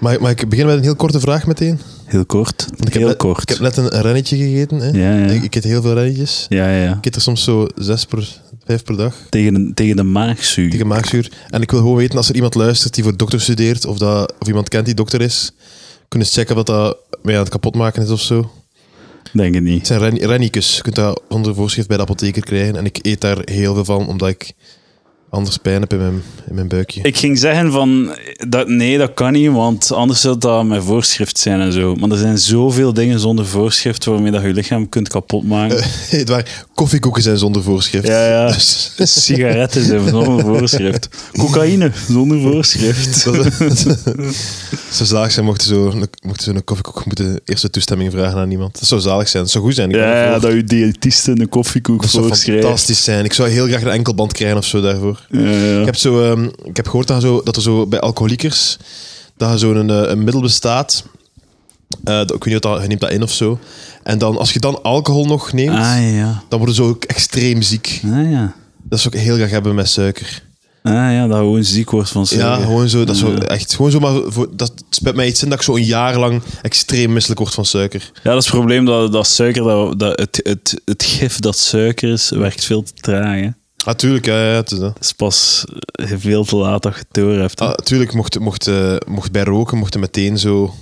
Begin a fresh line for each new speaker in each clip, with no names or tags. Mag, mag ik beginnen met een heel korte vraag meteen?
Heel kort.
Want ik heb
Heel
net-
kort.
Ik heb net een rennetje gegeten. Hè?
Ja, ja.
Ik, ik eet heel veel rennetjes.
Ja, ja, ja.
Ik eet er soms zo zes per, vijf per dag.
Tegen, een- tegen de maagzuur.
tegen maagzuur. En ik wil gewoon weten, als er iemand luistert die voor dokter studeert, of, dat, of iemand kent die dokter is, kunnen ze checken wat dat mij aan het kapotmaken is of zo.
Denk ik niet.
Het zijn ren rennikus. Je kunt dat zonder voorschrift bij de apotheker krijgen. En ik eet daar heel veel van, omdat ik anders pijn heb in mijn, in mijn buikje.
Ik ging zeggen van, dat, nee, dat kan niet, want anders zou dat met voorschrift zijn en zo. Maar er zijn zoveel dingen zonder voorschrift waarmee dat je lichaam kunt kapotmaken.
Het waar, koffiekoeken zijn zonder voorschrift.
Ja, ja.
Dus-
Sigaretten zijn zonder voorschrift. Cocaïne zonder voorschrift.
Zo zalig zijn mochten zo, mochten zo een koffiekoek moeten eerst de toestemming vragen aan iemand. Dat zou zalig zijn. Dat zou goed zijn. Ik ben
Ja,
ervoor.
ja, dat je diëtisten een koffiekoek
dat zou
voorschrijft.
fantastisch zijn. Ik zou heel graag een enkelband krijgen of zo daarvoor.
Ja, ja.
Ik heb, zo, ehm, ik heb gehoord dat, zo, dat er zo bij alcoholiekers dat er zo'n eh, een middel bestaat. Eh, dat- ik weet niet of dat, je neemt dat in of zo. En dan, als je dan alcohol nog neemt,
Ah ja.
dan worden ze ook extreem ziek.
Ah ja.
Dat zou ik heel graag hebben met suiker.
Ah ja, dat je gewoon ziek wordt van suiker.
Ja, gewoon zo. Dat is zo
Ja.
echt, gewoon zo maar voor, dat het spijt mij iets in dat ik zo een jaar lang extreem misselijk word van suiker.
Ja, dat is het probleem dat, dat suiker, dat, dat, het, het, het gif dat suiker is, werkt veel te traag. Hè.
Natuurlijk, Ah, ja, ja, het is dat.
Het is pas eh, veel te laat dat je het door hebt. hè.
Ah, tuurlijk, mocht, mocht, eh, mocht bij roken, mochten meteen zo.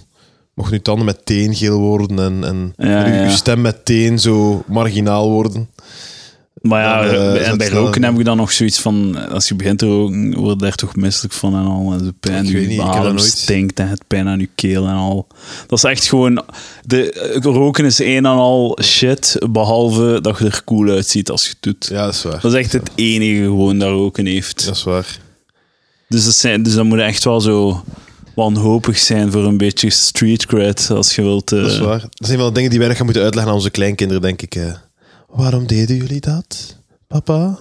Mochten uw tanden meteen geel worden en, en,
Ja,
en uw,
ja.
uw stem meteen zo marginaal worden.
maar ja,
dan, eh,
bij-
is
en
dat
bij
snel-
roken heb je dan nog zoiets van, als je begint te roken, word je daar toch misselijk van en al. En de pijn,
Ik
je
weet niet, ik heb dat
adem
nooit.
stinkt en het pijn aan je keel en al. Dat is echt gewoon, de, eh, roken is een en al shit, behalve dat je er cool uitziet als je het doet.
Ja, dat is waar.
Dat is echt het enige gewoon dat roken heeft.
Dat is waar.
Dus, dat zijn, dus dan moet je echt wel zo wanhopig zijn voor een beetje street cred als je wilt. eh,
Dat is waar. Dat zijn wel dingen die wij nog gaan moeten uitleggen aan onze kleinkinderen, denk ik. eh. Waarom deden jullie dat, papa?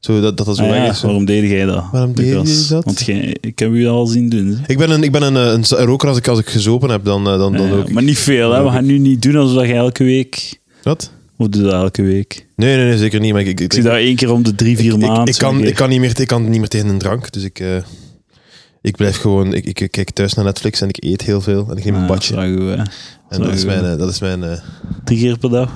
Zo, dat, dat dat zo
ah ja,
weg is. zo.
waarom deed jij dat?
Waarom deed
Lucas?
je dat?
Want jij, ik heb u al zien doen. hè.
Ik ben, een, ik ben een, eh, een, een roker als ik, als ik gezopen heb, dan, eh, dan, dan
Ja,
ook.
maar niet veel, hè?
dan
We
ook
gaan nu niet doen alsof je elke week.
Wat?
Of doe je dat elke week? Ik
Nee, nee, nee, zeker niet. Maar ik, ik, ik,
zie dat één keer om de drie, vier
ik- ik-
maanden.
ik
zo'n
kan,
keer.
ik, kan niet meer, ik kan niet meer tegen een drank, dus ik, eh, ik blijf gewoon... Ik, ik, ik kijk thuis naar Netflix en ik eet heel veel en ik neem een
Ah,
badje.
dat is wel goed, hè.
En dat is
goed.
mijn... eh, dat is mijn eh,
Drie keer per dag?
Ah.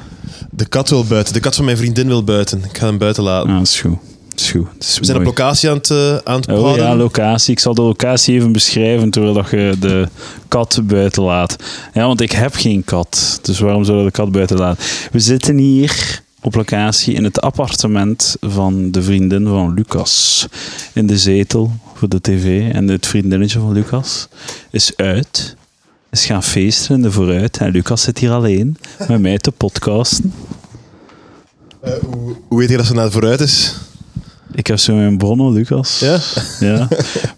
de kat wil buiten. De kat van mijn vriendin wil buiten. Ik ga hem buiten laten.
Ah, dat is goed. Dat is goed. Dat is
We zijn op
mooi.
locatie aan het, eh, aan het
Oh
praten.
ja, locatie. Ik zal de locatie even beschrijven terwijl dat je de kat buiten laat. Ja, want ik heb geen kat. Dus waarom zouden we de kat buiten laten? We zitten hier op locatie in het appartement van de vriendin van Lucas. In de zetel voor de tv. En het vriendinnetje van Lucas is uit. Is gaan feesten in de vooruit. En Lucas zit hier alleen met mij te podcasten.
Eh, hoe, hoe weet je dat ze naar het vooruit is?
Ik heb zo mijn bronnen, Lucas.
Ja?
Ja.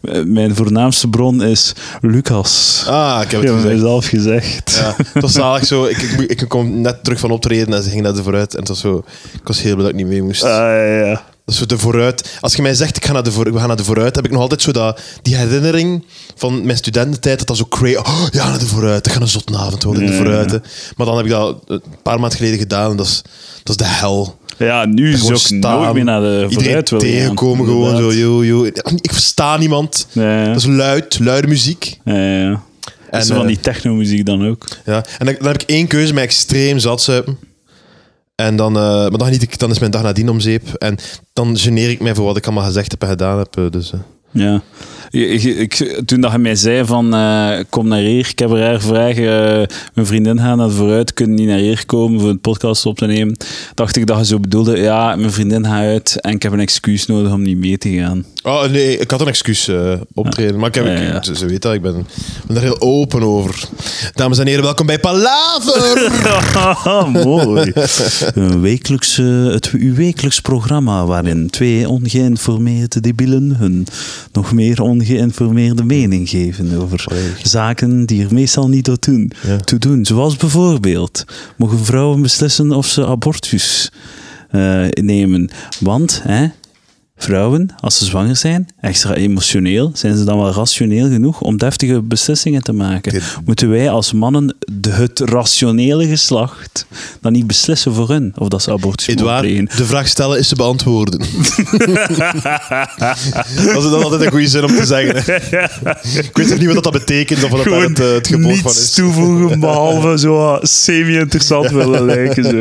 M- Mijn voornaamste bron is Lucas.
Ah, ik heb
Ik
het
heb
gezegd.
mezelf gezegd.
Ja, het was zalig zo. Ik, ik, ik kwam net terug van optreden en ze ging naar de vooruit. En het was zo, ik was heel blij dat ik niet mee moest.
Ah, ja, ja.
Dat is zo de vooruit. Als je mij zegt, ik ga naar de voor, we gaan naar de vooruit, heb ik nog altijd zo dat, die herinnering van mijn studententijd. Dat dat zo crazy... Oh, ja, naar de vooruit. Dat gaat een zottenavond worden in de
Ja, ja,
vooruit. hè. Maar dan heb ik dat een paar maanden geleden gedaan. En dat is, dat is de hel.
Ja, nu is
Gewoon
ook
staan.
nooit meer naar de
Iedereen
vooruit willen gaan.
tegenkomen gewoon zo.
Inderdaad.
Yo, yo. Ik versta niemand.
Ja, ja.
Dat is luid, luide muziek.
Ja, ja, ja.
En,
Is er van
eh,
die technomuziek dan ook.
Ja, en dan, dan heb ik één keuze, mij extreem zat zuipen. En dan, eh, maar dan, geniet ik, dan is mijn dag nadien om zeep. En dan geneer ik mij voor wat ik allemaal gezegd heb en gedaan heb. eh, Dus, eh.
Ja. Je- je- ik, toen dat je mij zei van eh, kom naar hier, ik heb er haar vraag, eh, mijn vriendin gaat naar het vooruit, kunnen niet naar hier komen voor een podcast op te nemen, dacht ik dat je zo bedoelde, ja, mijn vriendin gaat uit en ik heb een excuus nodig om niet mee te gaan.
Oh nee, ik had een excuus eh, optreden. Maar ik heb,
Ja, ja, ja.
Ze, ze weet dat, ik ben, ik ben daar heel open over. Dames en heren, welkom bij Palaver!
Mooi. Een wekelijkse, het, uw wekelijks programma waarin twee ongeïnformeerde debielen hun nog meer ongeïnformeerde mening geven over zaken die er meestal niet toe doen.
Ja.
toe doen. Zoals bijvoorbeeld, mogen vrouwen beslissen of ze abortus eh, nemen? Want, hè, Vrouwen, als ze zwanger zijn, extra emotioneel, zijn ze dan wel rationeel genoeg om deftige beslissingen te maken?
Dit-
Moeten wij als mannen de, het rationele geslacht dan niet beslissen voor hun of dat ze abortus moeten
Edouard,
plegen?
de vraag stellen is te beantwoorden. dat is dan altijd een goede zin om te zeggen. hè. Ik weet ook niet wat dat betekent of wat daar het, eh, het geboor van is.
toevoegen behalve zo semi-interessant willen lijken. Zo.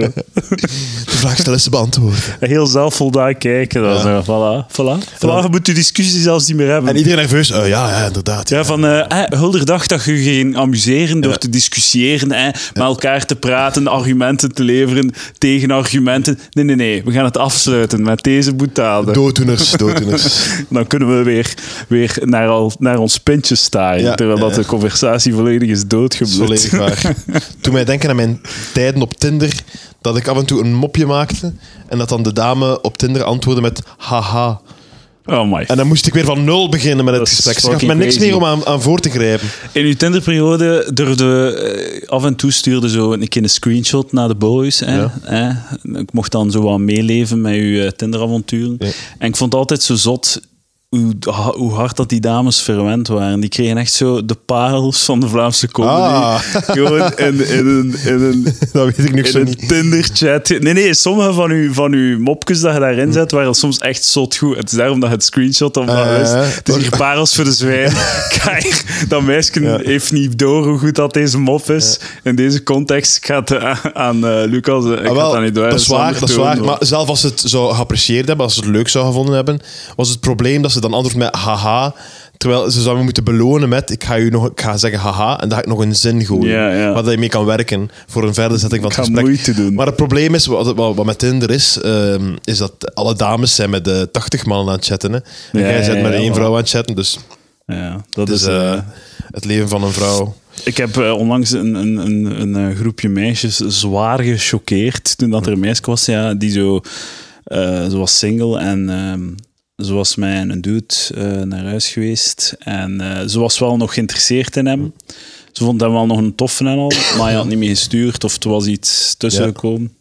De vraag stellen is te beantwoorden.
Heel zelfvoldaan kijken. Dan zo. Voilà, voilà. Vandaag moet je discussie zelfs niet meer hebben.
En iedereen nerveus. Eh, ja, ja, inderdaad.
Ja, van eh, eh, Hulder dacht dat je ging amuseren door te discussiëren, eh, met elkaar te praten, argumenten te leveren tegen argumenten. Nee, nee, nee, we gaan het afsluiten met deze boetade.
Dooddoeners, dooddoeners.
Dan kunnen we weer, weer naar, al, naar ons pintje staren,
Ja,
terwijl dat
ja.
de conversatie volledig is
Dat is
doodgebloed.
volledig waar. Toen mij denken aan mijn tijden op Tinder, dat ik af en toe een mopje maakte en dat dan de dame op Tinder antwoordde met haha.
Oh my.
En dan moest ik weer van nul beginnen met het
Dat is
gesprek. Ze gaf me
fucking
niks
crazy.
meer om aan, aan voor te grijpen.
In uw Tinderperiode durfde we, eh, af en toe stuurde zo een keer een screenshot naar de boys. Hè,
Ja.
hè. Ik mocht dan zo wat meeleven met uw eh, Tinder-avonturen.
Ja.
En ik vond het altijd zo zot hoe, ha- hoe hard dat die dames verwend waren. Die kregen echt zo de parels van de Vlaamse comedy.
Ah.
Gewoon in, in een, in een,
Dat weet ik nu
in
zo
een
niet.
Tinder-chat. Nee, nee, sommige van uw, van uw mopjes dat je daarin zet, waren soms echt zot goed. Het is daarom dat je het screenshot dan
Eh,
maar wist. Het is
toch?
hier parels voor de zwijn. Kijk, dat meisje heeft niet door hoe goed dat deze mop is. In deze context gaat aan, aan eh, Lucas... eh, Ik
Ah,
ga
wel,
het aan Edouard
dat
en
is
Sander
waar, dat is
tonen,
waar.
hoor.
Maar zelf als ze het zou geapprecieerd hebben, als ze het leuk zou gevonden hebben, was het probleem dat ze dan antwoordt met haha. Terwijl ze zou me moeten belonen met ik ga, u nog, ik ga zeggen haha en dan ga ik nog een zin gooien.
Ja, ja.
Waar dat je mee kan werken voor een verdere zetting van het
ga
gesprek.
moeite doen.
Maar het probleem is, wat, wat, wat met Tinder is, ehm, is dat alle dames zijn met de 80 mannen aan het chatten. Hè. En
Ja,
jij bent
ja,
met
ja,
één
voilà.
vrouw aan het chatten, dus
Ja, dat
het is
is... eh,
eh, het leven van een vrouw.
Ik heb eh, onlangs een, een, een, een eh, groepje meisjes zwaar gechoqueerd toen dat er een meisje was ja, die zo, eh, ze was single en ehm ze was met een dude eh, naar huis geweest en eh, ze was wel nog geïnteresseerd in hem. Ze vond hem wel nog een toffe en al, maar hij had niet meer gestuurd of er was iets tussen
Ja.
gekomen.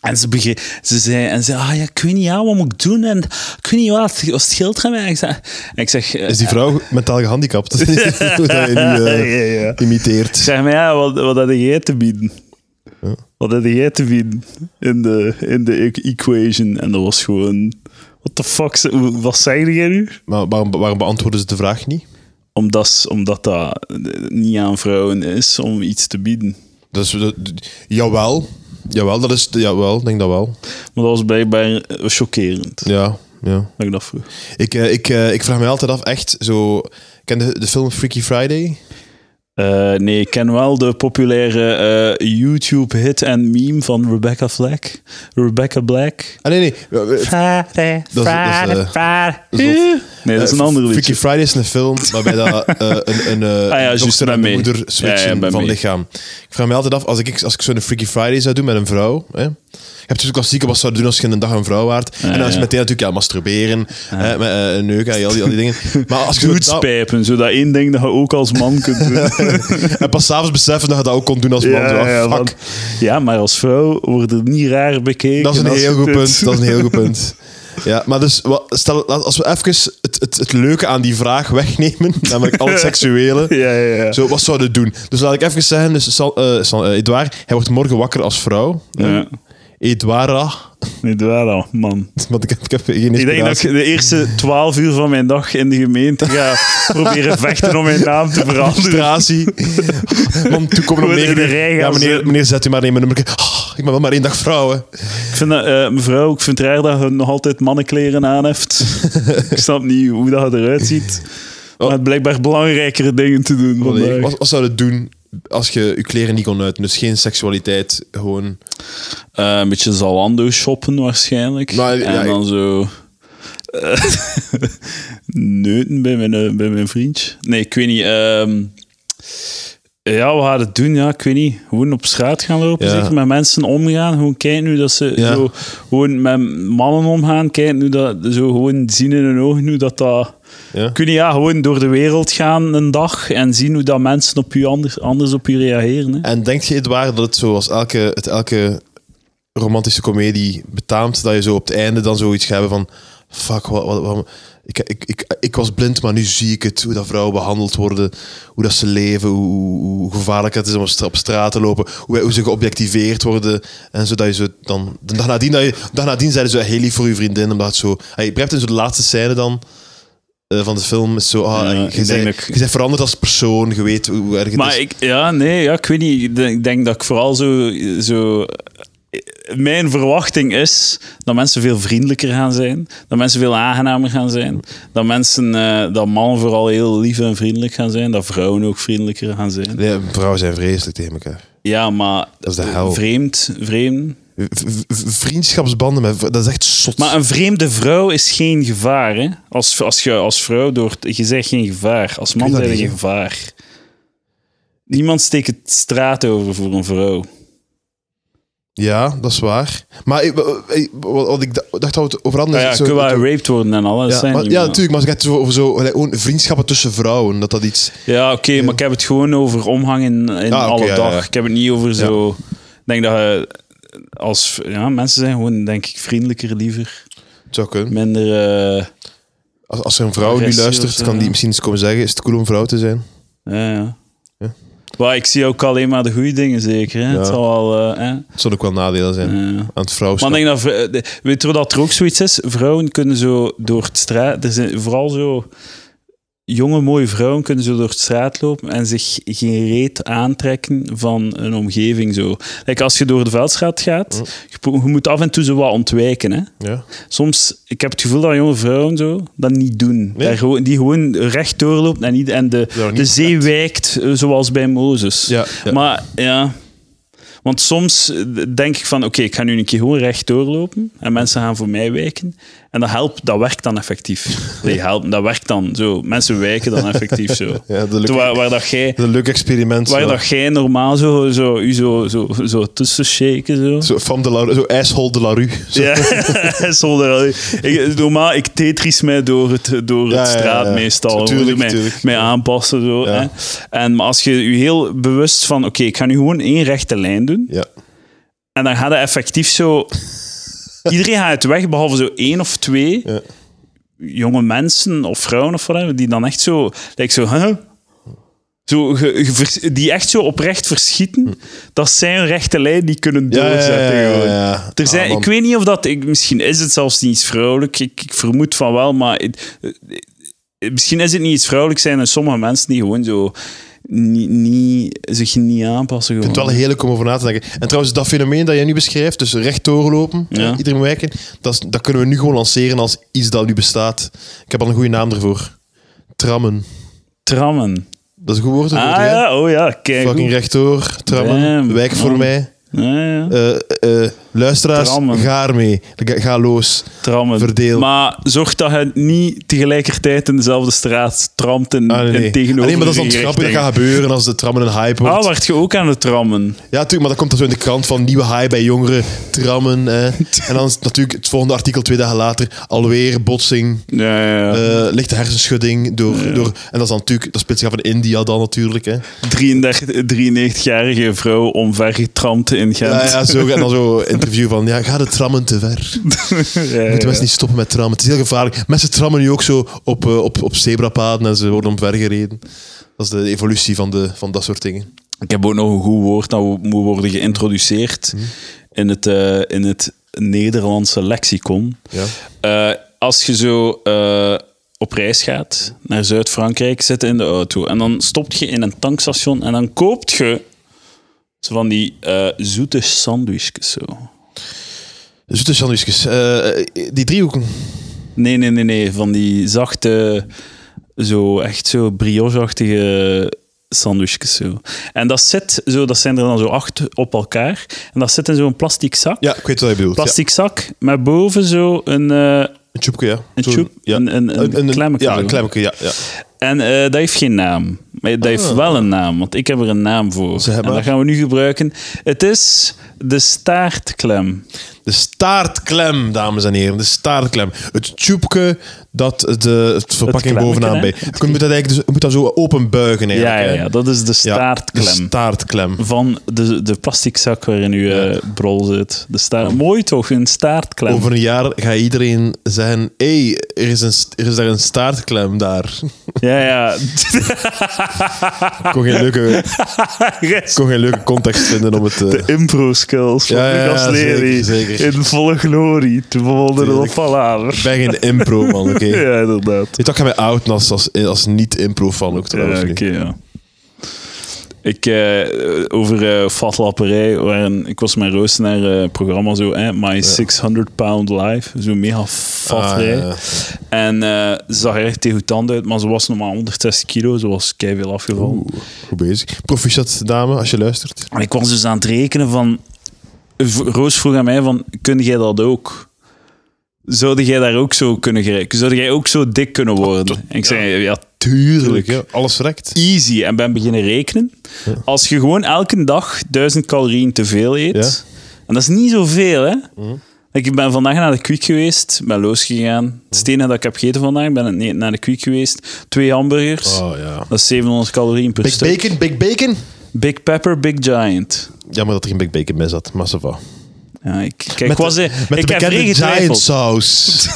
En ze, begreep, ze zei, en ze, ah ja, ik weet niet ja, wat moet ik doen en ik weet niet wat, wat scheelt er mij? En ik zeg, en ik zeg eh,
Is die vrouw mentaal gehandicapt? Hoe dat je nu eh,
ja, ja.
imiteert.
Zeg maar, ja, wat, wat had jij te bieden? Wat had jij te bieden in de, in de e- equation? En dat was gewoon... What the fuck? ze- hoe- Wat zei jij nu?
Maar waarom, waarom beantwoorden ze de vraag niet?
Omdat, s- omdat dat eh, niet aan vrouwen is om iets te bieden.
Dus, dat- d- jawel. Jawel, dat is, jawel, ik denk dat wel.
Maar dat was blijkbaar eh, chockerend,
Ja, ja.
dat ik dat vroeg.
Ik, eh, ik, eh, ik vraag me altijd af, echt zo... Ken de, de film Freaky Friday?
Eh, nee, ik ken wel de populaire eh, YouTube-hit en meme van Rebecca Black. Rebecca Black.
Ah, nee, nee. Eh, eh,
Friday,
dat is,
Friday,
eh,
Friday.
dat is
Nee, dat is een
eh,
ander liedje. Ah,
Freaky Friday is een film waarbij dat, eh, een, een eh,
juist,
dochter
ben
en
mee.
moeder switchen
Ja, ja, ben
van
mee.
lichaam. Ik vraag me altijd af, als ik, als ik zo'n Freaky Friday zou doen met een vrouw... Hè, je hebt natuurlijk klassieke wat zou je doen als je een dag een vrouw waart. en dan is
ja.
meteen natuurlijk ja, masturberen, hè, met, eh, neuken en al die, al die dingen. Maar als je zo
Goed
dat-
spijpen, zodat één ding dat je ook als man kunt doen.
En pas s'avonds beseffen dat je dat ook kon doen als man. Zo, ah, fuck.
want- ja, maar als vrouw wordt het niet raar bekeken.
dat is een
als
heel
je
goed
dit-
punt. Dat is een heel goed punt. Ja, maar dus, wat- stel, als we even het, het, het leuke aan die vraag wegnemen, namelijk al het seksuele,
Ja, ja, ja.
zo, wat zouden we doen? Dus laat ik even zeggen, dus, Sal, eh, Sal- eh, Edouard, hij wordt morgen wakker als vrouw. Eh,
ja.
Edouarda,
Niet waar dan, man.
want ik heb, ik heb geen
Ik denk dat
inspiratie.
ik de eerste twaalf uur van mijn dag in de gemeente ga proberen vechten om mijn naam te veranderen.
Frustratie. Man, toe komen om
Gewoon in
negen
de
uur.
rij gaan
Ja, meneer,
zitten.
meneer, zet u maar in mijn nummer. Ah, ik ben wel maar één dag vrouw, hè.
Ik vind dat, eh, mevrouw, ik vind het raar dat je nog altijd mannenkleren aan heeft. ik snap niet hoe dat je eruit ziet. Maar het blijkbaar belangrijkere dingen te doen. vandaag.
Wat, wat zou je doen als je je kleren niet kon uiten? Dus geen seksualiteit, gewoon...
Eh, een beetje Zalando shoppen waarschijnlijk.
Nou, ja,
en
ik-
dan zo... eh, neuten bij mijn, eh, bij mijn vriendje. Nee, ik weet niet. ehm, ja, we gaan het doen, ja, ik weet niet. Gewoon op straat gaan lopen,
Ja.
zeker met mensen omgaan. Gewoon kijken hoe dat ze
Ja.
zo, gewoon met mannen omgaan. Kijken hoe dat, zo gewoon zien in hun ogen hoe dat dat...
Ja.
Ik weet niet, ja, gewoon door de wereld gaan een dag en zien hoe dat mensen op u anders, anders op u reageren. Hè.
En denkt je, Edouard, dat het zoals elke, het elke romantische komedie betaamt, dat je zo op het einde dan zoiets gaat hebben van... Fuck, wat, wat, wat- ik, ik, ik, ik was blind, maar nu zie ik het. Hoe dat vrouwen behandeld worden, hoe dat ze leven, hoe, hoe- hoe gevaarlijk het is om op stra- op straat te lopen, hoe, hoe ze geobjectiveerd worden. En zodat je zo dan... De dag nadien, dat je, de dag nadien zeiden ze, hey, lief voor je vriendin, omdat het zo... Hey, je hebt in zo de laatste scène dan... eh, van de film is zo, ah,
Ja,
je,
ik denk
bent-
dat ik-
je bent veranderd als persoon, je weet hoe erg het is.
Maar ik, ja, nee, ja, ik weet niet. Ik denk, ik denk dat ik vooral zo, zo. Mijn verwachting is dat mensen veel vriendelijker gaan zijn. Dat mensen veel aangenamer gaan zijn. Dat mensen, eh, dat mannen vooral heel lief en vriendelijk gaan zijn. Dat vrouwen ook vriendelijker gaan zijn.
Nee, vrouwen zijn vreselijk tegen elkaar.
Ja, maar.
Dat is de hel.
Vreemd, vreemd.
V- v- Vriendschapsbanden, met, dat is echt zot.
Maar eh, een vreemde vrouw is geen gevaar, hè? Als, als je als vrouw door... Je zegt geen gevaar. Als man
weet dat
ben je
niet,
geen gevaar. Niemand steekt het straat over voor een vrouw.
Ja, dat is waar. Maar ik- eh, eh, wat wat ik da- dacht dat we het over hadden...
Nou
is
ja,
Dus zo-
kunnen wel geraped worden en alles.
ja,
zijn
maar, ja, natuurlijk, maar als ik het zo over zo, gelijk gewoon vriendschappen tussen vrouwen, dat dat iets...
Ja, oké, maar ik heb het gewoon over omgang in, in
Ah, oké,
alle
ja,
dag.
ja.
Ik heb het niet over zo... Ik denk dat je als... Ja, mensen zijn gewoon, denk ik, vriendelijker, liever.
Het zou kunnen.
Minder... eh,
Als, als er een vrouw nu
Agressie of
luistert,
zo,
kan die
ja.
misschien eens komen zeggen, is het cool om vrouw te zijn?
ja, ja.
Ja.
Maar ik zie ook alleen maar de goede dingen, zeker. Hè?
Ja.
Het zal wel... eh, hè?
Het zou ook wel nadelen zijn
Ja.
aan het vrouwschap.
Maar ik denk dat, vrou- eh, de- weet je wat dat er ook zoiets is? Vrouwen kunnen zo door het straat, er zijn vooral zo jonge mooie vrouwen kunnen zo door het straat lopen en zich geen reet aantrekken van een omgeving zo. Like als je door de veldstraat gaat, je, po- je moet af en toe zo wat ontwijken. Hè?
Ja.
Soms, ik heb het gevoel dat jonge vrouwen zo dat niet doen.
Nee.
Daar gewoon, die gewoon recht doorloopt en, niet, en de,
Daar niet
de zee wijkt eh, zoals bij Mozes.
Ja, ja.
Maar ja, want soms eh, denk ik van oké, ik ga nu een keer gewoon recht doorlopen en mensen gaan voor mij wijken. En dat helpt, dat werkt dan effectief. Die helpen, dat werkt dan zo. Mensen wijken dan effectief zo.
Ja, de leuk,
Terwijl waar dat jij,
een leuk experiment.
waar
zo.
dat jij normaal zo, zo, u zo, zo, zo tussen shaken zo.
Zo, van de La, zo asshole de la rue. Zo.
Ja, zonder. Ik, normaal, ik tetris mij door het, door
Ja,
het
ja, ja,
straat
ja.
meestal.
Tuurlijk,
Tuurlijk, mij,
tuurlijk.
mij aanpassen. Zo,
Ja.
hè. En, maar als je je heel bewust van, oké, ik ga nu gewoon één rechte lijn doen.
Ja.
En dan gaat het effectief zo... Iedereen gaat het weg, behalve zo één of twee
Ja.
jonge mensen of vrouwen of whatever, die dan echt zo... Like zo, huh? zo ge- ge- vers- die echt zo oprecht verschieten, dat zij hun rechte lijn niet kunnen
Hm. Ja, ja,
doorzetten.
ja, ja,
gewoon.
ja.
Er
Ah,
zijn,
man.
ik weet niet of dat... Ik, misschien is het zelfs niet iets vrouwelijk. Ik, ik vermoed van wel, maar... het- eh, eh, misschien is het niet iets vrouwelijk zijn en sommige mensen die gewoon zo... Niet, niet, zich niet aanpassen.
Ik
Gewoon.
vind het wel heerlijk om over na te denken. En trouwens, dat fenomeen dat jij nu beschrijft, dus recht doorlopen, eh,
Ja.
iedereen wijken, dat, is- dat kunnen we nu gewoon lanceren als iets dat nu bestaat. Ik heb al een goede naam ervoor. Trammen.
Trammen.
Dat is een goed woord. dat
Ah
weet jij.
ja, oh ja, kijk.
Fucking rechtdoor, trammen,
Damn,
wijk voor
man.
mij.
Ja, ja.
Eh, eh, eh, luisteraars,
Trammen.
ga ermee. Ga, ga los.
Trammen.
verdeel.
Maar zorg dat je niet tegelijkertijd in dezelfde straat tramt en,
Ah, nee, nee.
en tegenover
Ah, nee, maar dat is dan
je
grappig. Dat
richting.
gaat gebeuren als de trammen een hype wordt.
Ah, werd je ook aan het trammen?
Ja, natuurlijk, maar dat komt dan zo in de krant van nieuwe high bij jongeren, trammen. Hè. En dan is het natuurlijk het volgende artikel twee dagen later alweer botsing.
Ja, ja, ja.
eh lichte hersenschudding. Door, door, en dat is dan natuurlijk, dat speelt zich af in India dan natuurlijk. Hè.
33 93-jarige vrouw omvergetramd in
Ja,
Gent.
ja, zo, en dan zo interview van, ja, gaat het trammen te ver?
Ja, ja.
Moeten mensen niet stoppen met trammen? Het is heel gevaarlijk. Mensen trammen nu ook zo op, eh, op, op zebrapaden en ze worden omvergereden. Dat is de evolutie van, de, van dat soort dingen.
Ik heb ook nog een goed woord dat moet worden geïntroduceerd in, het, eh, in het Nederlandse lexicon.
Ja.
Eh, als je zo eh, op reis gaat naar Zuid-Frankrijk, zit in de auto en dan stopt je in een tankstation en dan koopt je zo van die eh, zoete sandwichjes. Zo.
Zoete sandwichjes. Eh, eh, die driehoeken.
Nee, nee, nee, nee, van die zachte, zo echt zo brioche-achtige sandwichjes. Zo. En dat zit zo, dat zijn er dan zo acht op elkaar en dat zit in zo'n plastic zak.
Ja, ik weet wat je bedoelt. Ja.
Plastic zak met boven zo een, eh
Een tjoepje, ja.
een,
Zo'n-
tjoep-
ja.
een, een, een, klemmetje
Ja,
zo.
een klemmetje, ja. ja.
En eh, dat heeft geen naam. Maar dat
Ah.
heeft wel een naam, want ik heb er een naam voor.
Zeg maar.
En dat gaan we nu gebruiken. Het is de staartklem.
De staartklem, dames en heren. De staartklem. Het tjoepke dat de het verpakking
klemmetje,
bovenaan
hè?
bij. Je moet dat, eigenlijk dus, je moet dat zo openbuigen
Ja,
eigenlijk.
ja,
hè?
ja, dat is de
Ja, Dus
staartklem.
de staartklem.
van de, de plastic zak waarin uw
Ja.
eh, brol zit. De staart. Mooi toch, een staartklem.
Over een jaar gaat iedereen zeggen... Hé, hey, er, is een st- er is daar een staartklem daar.
Ja, ja.
Ik kon geen leuke, ik kon geen leuke context vinden om het... eh,
De impro-skills van
Ja, ja, ja,
Lucas Lely.
zeker, zeker.
In volle glorie. Te bewonderen op
Tuurlijk.
Palaver.
Ik ben geen impro, man, oké?
Ja, inderdaad.
Ik dacht aan mij oud als, als, als niet-impro-fan ook
Ja,
trouwens.
oké,
nu.
ja. Ik, eh, over eh fatlapperij, waarin- ik was met Roos naar eh, het programma zo, hè, My 600 Pound Life, zo mega fat
Ah, ja,
rij.
ja.
En eh, ze zag er echt tegen uw tanden uit, maar ze was nog maar 160 kilo, ze was keiveel afgevallen.
Oeh, goed bezig. Proficiat, dame, als je luistert.
En ik was dus aan het rekenen van... V- Roos vroeg aan mij van, kun jij dat ook? Zou jij daar ook zo kunnen geraken? Zou jij ook zo dik kunnen worden? en ik zei, ja, tuurlijk.
Tuurlijk, ja. Alles rekt.
Easy. En ben beginnen rekenen. Als je gewoon elke dag 1000 calorieën te veel eet, en dat is niet zoveel, hè? Ik ben vandaag naar de Quick geweest, ben losgegaan. Het stenen dat ik heb gegeten vandaag, ben nee, naar de Quick geweest. Twee hamburgers.
Oh, ja.
Dat is 700 calorieën per
Big
stuk.
Bacon, Big Bacon.
Big Pepper, Big Giant.
Jammer dat er geen Big Bacon bij zat, maar ça va.
Ja, ik, kijk, ik was,
de,
eh,
met
ik
de
heb vrij
bekende
getwijfeld.
Giant Saus.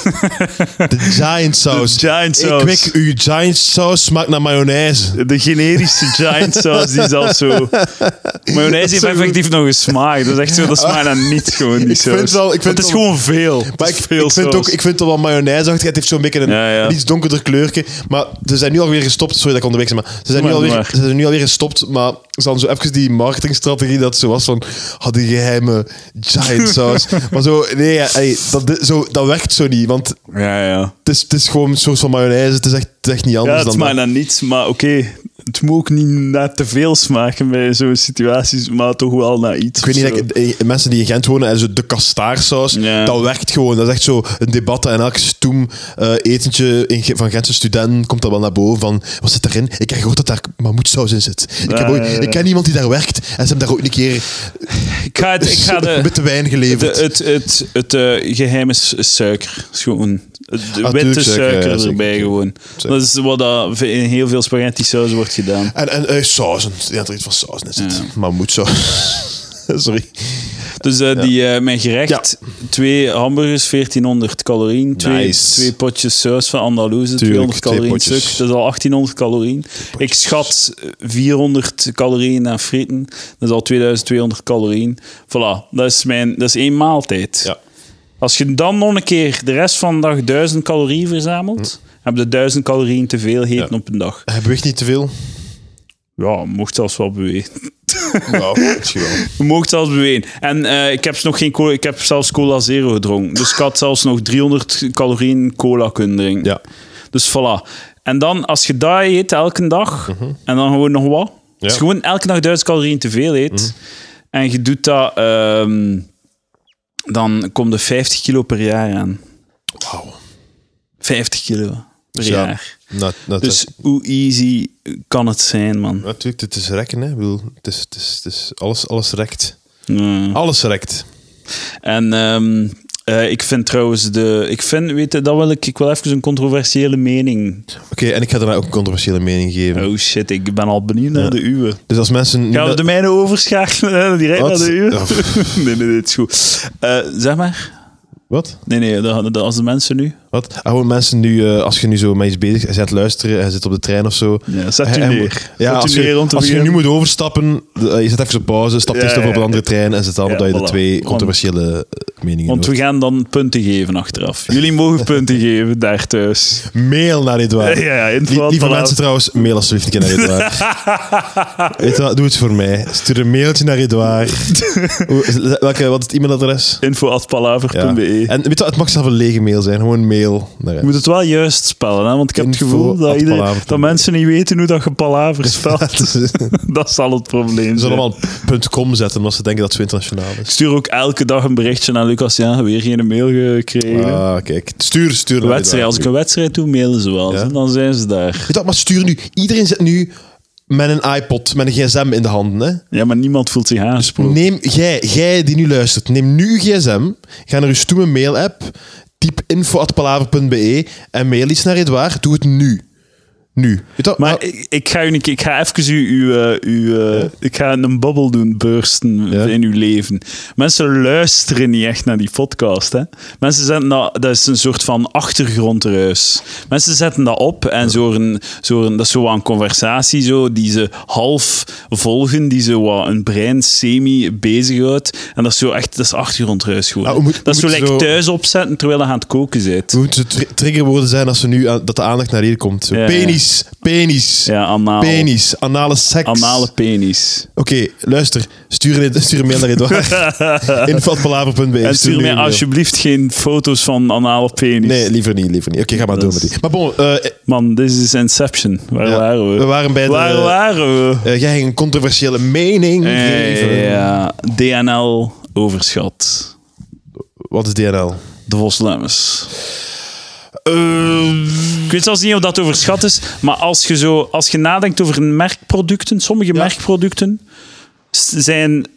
de Giant Saus.
De Giant Saus.
Ik wik, uw Giant Saus smaakt naar mayonaise.
De generische giant sauce, die is al zo... Mayonaise heeft
zo goed. Ah.
effectief nog een smaak. Dat is echt zo, dat smaakt naar niets gewoon, die
Ik vind
saus.
wel- ik vind
Want het is
wel-
gewoon veel. Het
Maar
is
ik,
veel
ik vind
saus.
ook, ik vind het wel mayonaise Het heeft zo'n beetje een,
Ja, ja.
een iets donkerder kleurtje. Maar ze zijn nu alweer gestopt. Sorry dat ik onderweg ben, maar ze zijn,
Maar,
nu alweer,
maar.
ze zijn nu alweer gestopt. Maar ze hadden zo even die marketingstrategie dat zo was van... Had die geheime giant sauce. maar zo, nee, ja, ey, dat, zo, dat werkt zo niet. Want het
Ja, ja.
is, het is gewoon een soort van mayonaise. Het is echt, het is echt niet
Ja,
anders
het
dan
smaakt
dat.
naar niets, maar oké. Het moet ook niet naar te veel smaken bij zo'n situaties, maar toch wel naar iets.
Ik weet niet,
of zo.
like, eh, eh, mensen die in Gent wonen en zo de kastaarsaus,
Ja.
dat werkt gewoon. Dat is echt zo een debat en elk stoem eh, etentje in, Ge- van Gentse studenten komt dat wel naar boven van, wat zit erin? Ik heb gehoord dat daar mammoetsaus in zit. Ik, heb
Ja,
ooit-
ja, ja.
ik ken iemand die daar werkt en ze hebben daar ook een keer
Ik ga, het, ik ga de...
witte wijn
De,
geleverd.
het het, het eh, geheim is suiker. Is gewoon de
Ah,
witte
tuurlijk,
suiker,
suiker, ja, zeker,
erbij
zeker.
gewoon.
Zeker.
Dat is wat dat in heel veel spaghetti saus wordt gedaan.
en en eh, sausen. Ja, dat er iets van saus in zit. Mammoetsaus. Sorry.
Dus eh, die, eh, mijn gerecht, twee hamburgers, 1400 calorieën. Twee,
Nice.
twee potjes saus van Andalusië,
Tuurlijk,
200
twee
calorieën stuk.
potjes.
Dat is al 1800 calorieën. Ik schat eh, 400 calorieën aan frieten. Dat is al 2200 calorieën. Voilà, dat is, mijn, dat is één maaltijd.
Ja.
Als je dan nog een keer de rest van de dag 1000 calorieën verzamelt, heb je 1000 calorieën te veel gegeten
Hm. Ja.
op een dag.
Hij beweegt niet te veel.
Ja, mocht zelfs wel bewegen.
Nou, misschien wel.
Je mocht zelfs bewegen. En eh, ik, heb nog geen cola, ik heb zelfs cola zero gedronken. Dus ik had zelfs nog 300 calorieën cola kunnen drinken.
Ja.
Dus voilà. En dan, als je dat eet elke dag,
Mhm.
en dan gewoon nog wat. Als je gewoon elke dag 1000 calorieën te veel eet,
Mhm.
en je doet dat, ehm, dan komt er 50 kilo per jaar aan.
Wauw.
50 kilo per
Dus ja,
jaar.
na- na-
Dus hoe easy kan het zijn, man?
Natuurlijk, het is rekken, hè. Ik bedoel, het is, het is, het is alles, alles rekt.
Ja.
Alles rekt.
En ehm, eh, ik vind trouwens de. Ik vind, weet je, dat wil ik, ik wil even een controversiële mening.
Oké, en ik ga daarna ook een controversiële mening geven.
Oh shit, ik ben al benieuwd naar de uwe.
Dus als mensen... nu
Gaan we
dat-
de mijne overschakelen eh, direct
Wat?
naar de uwe?
Ja,
nee, nee, nee, het is goed. Eh, zeg maar.
Wat?
Nee, nee, dat- dat- als de mensen nu.
Wat? Ah, gewoon mensen nu, eh, als je nu zo met iets bezig bent, je zit luisteren, hij zit op de trein of zo.
Ja, zet u
Hij- hij-
neer. Zet
Ja,
u
als, je,
neer om te
als je nu
beginnen.
moet overstappen, de- eh, je zet even op pauze, stapt
Ja,
eerst over op
ja,
een andere trein en zet dan
Ja,
op dat je
voilà.
de twee
Want-
controversiële eh, meningen
Want we
hoort.
gaan dan punten geven achteraf. Jullie mogen punten geven daar thuis.
Mail naar Edouard.
Ja, in het
Lie-
geval
Lieve
van-
mensen trouwens, mail alsjeblieft een keer naar Edouard. Edouard, doe het voor mij. Stuur een mailtje naar Edouard. Hoe- Welke, wat is het e-mailadres? Ja.
info.palaver.be
En weet je, wat, het mag zelf een lege mail zijn, gewoon mail naar
Je moet het wel juist spellen, hè? want ik heb het
Info
gevoel dat,
at
iedereen-
palaver.be.
dat mensen niet weten hoe dat je palaver spelt. dat zal het probleem
Ze
zijn.
zullen Dus- allemaal .com zetten, omdat ze denken dat het zo internationaal
Ik
is.
stuur ook elke dag een berichtje naar Lucas. Ja, weer geen mail gekregen.
Ah, kijk. Stuur, stuur.
Een
naar
wedstrijd. Als ik
Edouard.
een wedstrijd doe, mailen ze wel.
Ja.
Dan zijn ze daar.
Weet je wat, maar stuur nu. Iedereen zit nu met een iPod, met een gsm in de handen. Hè?
Ja, maar niemand voelt zich aangesproken.
Neem, jij, jij die nu luistert, neem nu uw gsm, ga naar uw stoeme mail-app, typ info.palaver.be en mail iets naar Edouard. Doe het nu. Nu. Weet je dat?
Maar
Nou,
ik, ik ga, u een keer- ik ga even u, uw, eh, uw, eh, ik ga een bubbel doen bursten
Ja.
in uw leven. Mensen luisteren niet echt naar die podcast. Hè? Mensen zetten dat, dat is een soort van achtergrondruis. Mensen zetten dat op en zo een, zo een, dat is zo wat een conversatie zo, die ze half volgen, die ze wat een brein semi bezighoudt. En dat is zo echt dat is achtergrondruis gewoon.
Nou, we moeten- we
dat is zo
moeten
lekker
zo-
thuis opzetten terwijl je aan het koken bent.
het moeten tri- triggerwoorden zijn als ze nu aan- dat de aandacht naar hier komt. Zo,
Ja, ja.
penis, penis,
Ja, anaal.
penis, anale seks.
Anale penis.
Oké, luister. Stuur een, stuur een mail naar Edouard. info.palaver.be.
En
Stuur
stuur
nu
mij
een mail.
alsjeblieft geen foto's van anale penis.
Nee, liever niet, liever niet. Oké, ga maar
Dat
door met
is-
die. Maar bon, eh,
Man, dit is Inception. Waar
Ja,
waren we?
we waren bij de-
Waar waren we?
eh, jij ging een controversiële mening geven.
Eh, ja, DNL overschat.
Wat is DNL?
De Vos Lemmens. Eh, ik weet zelfs niet of dat overschat is, maar als je, zo, als je nadenkt over merkproducten, sommige merkproducten s- zijn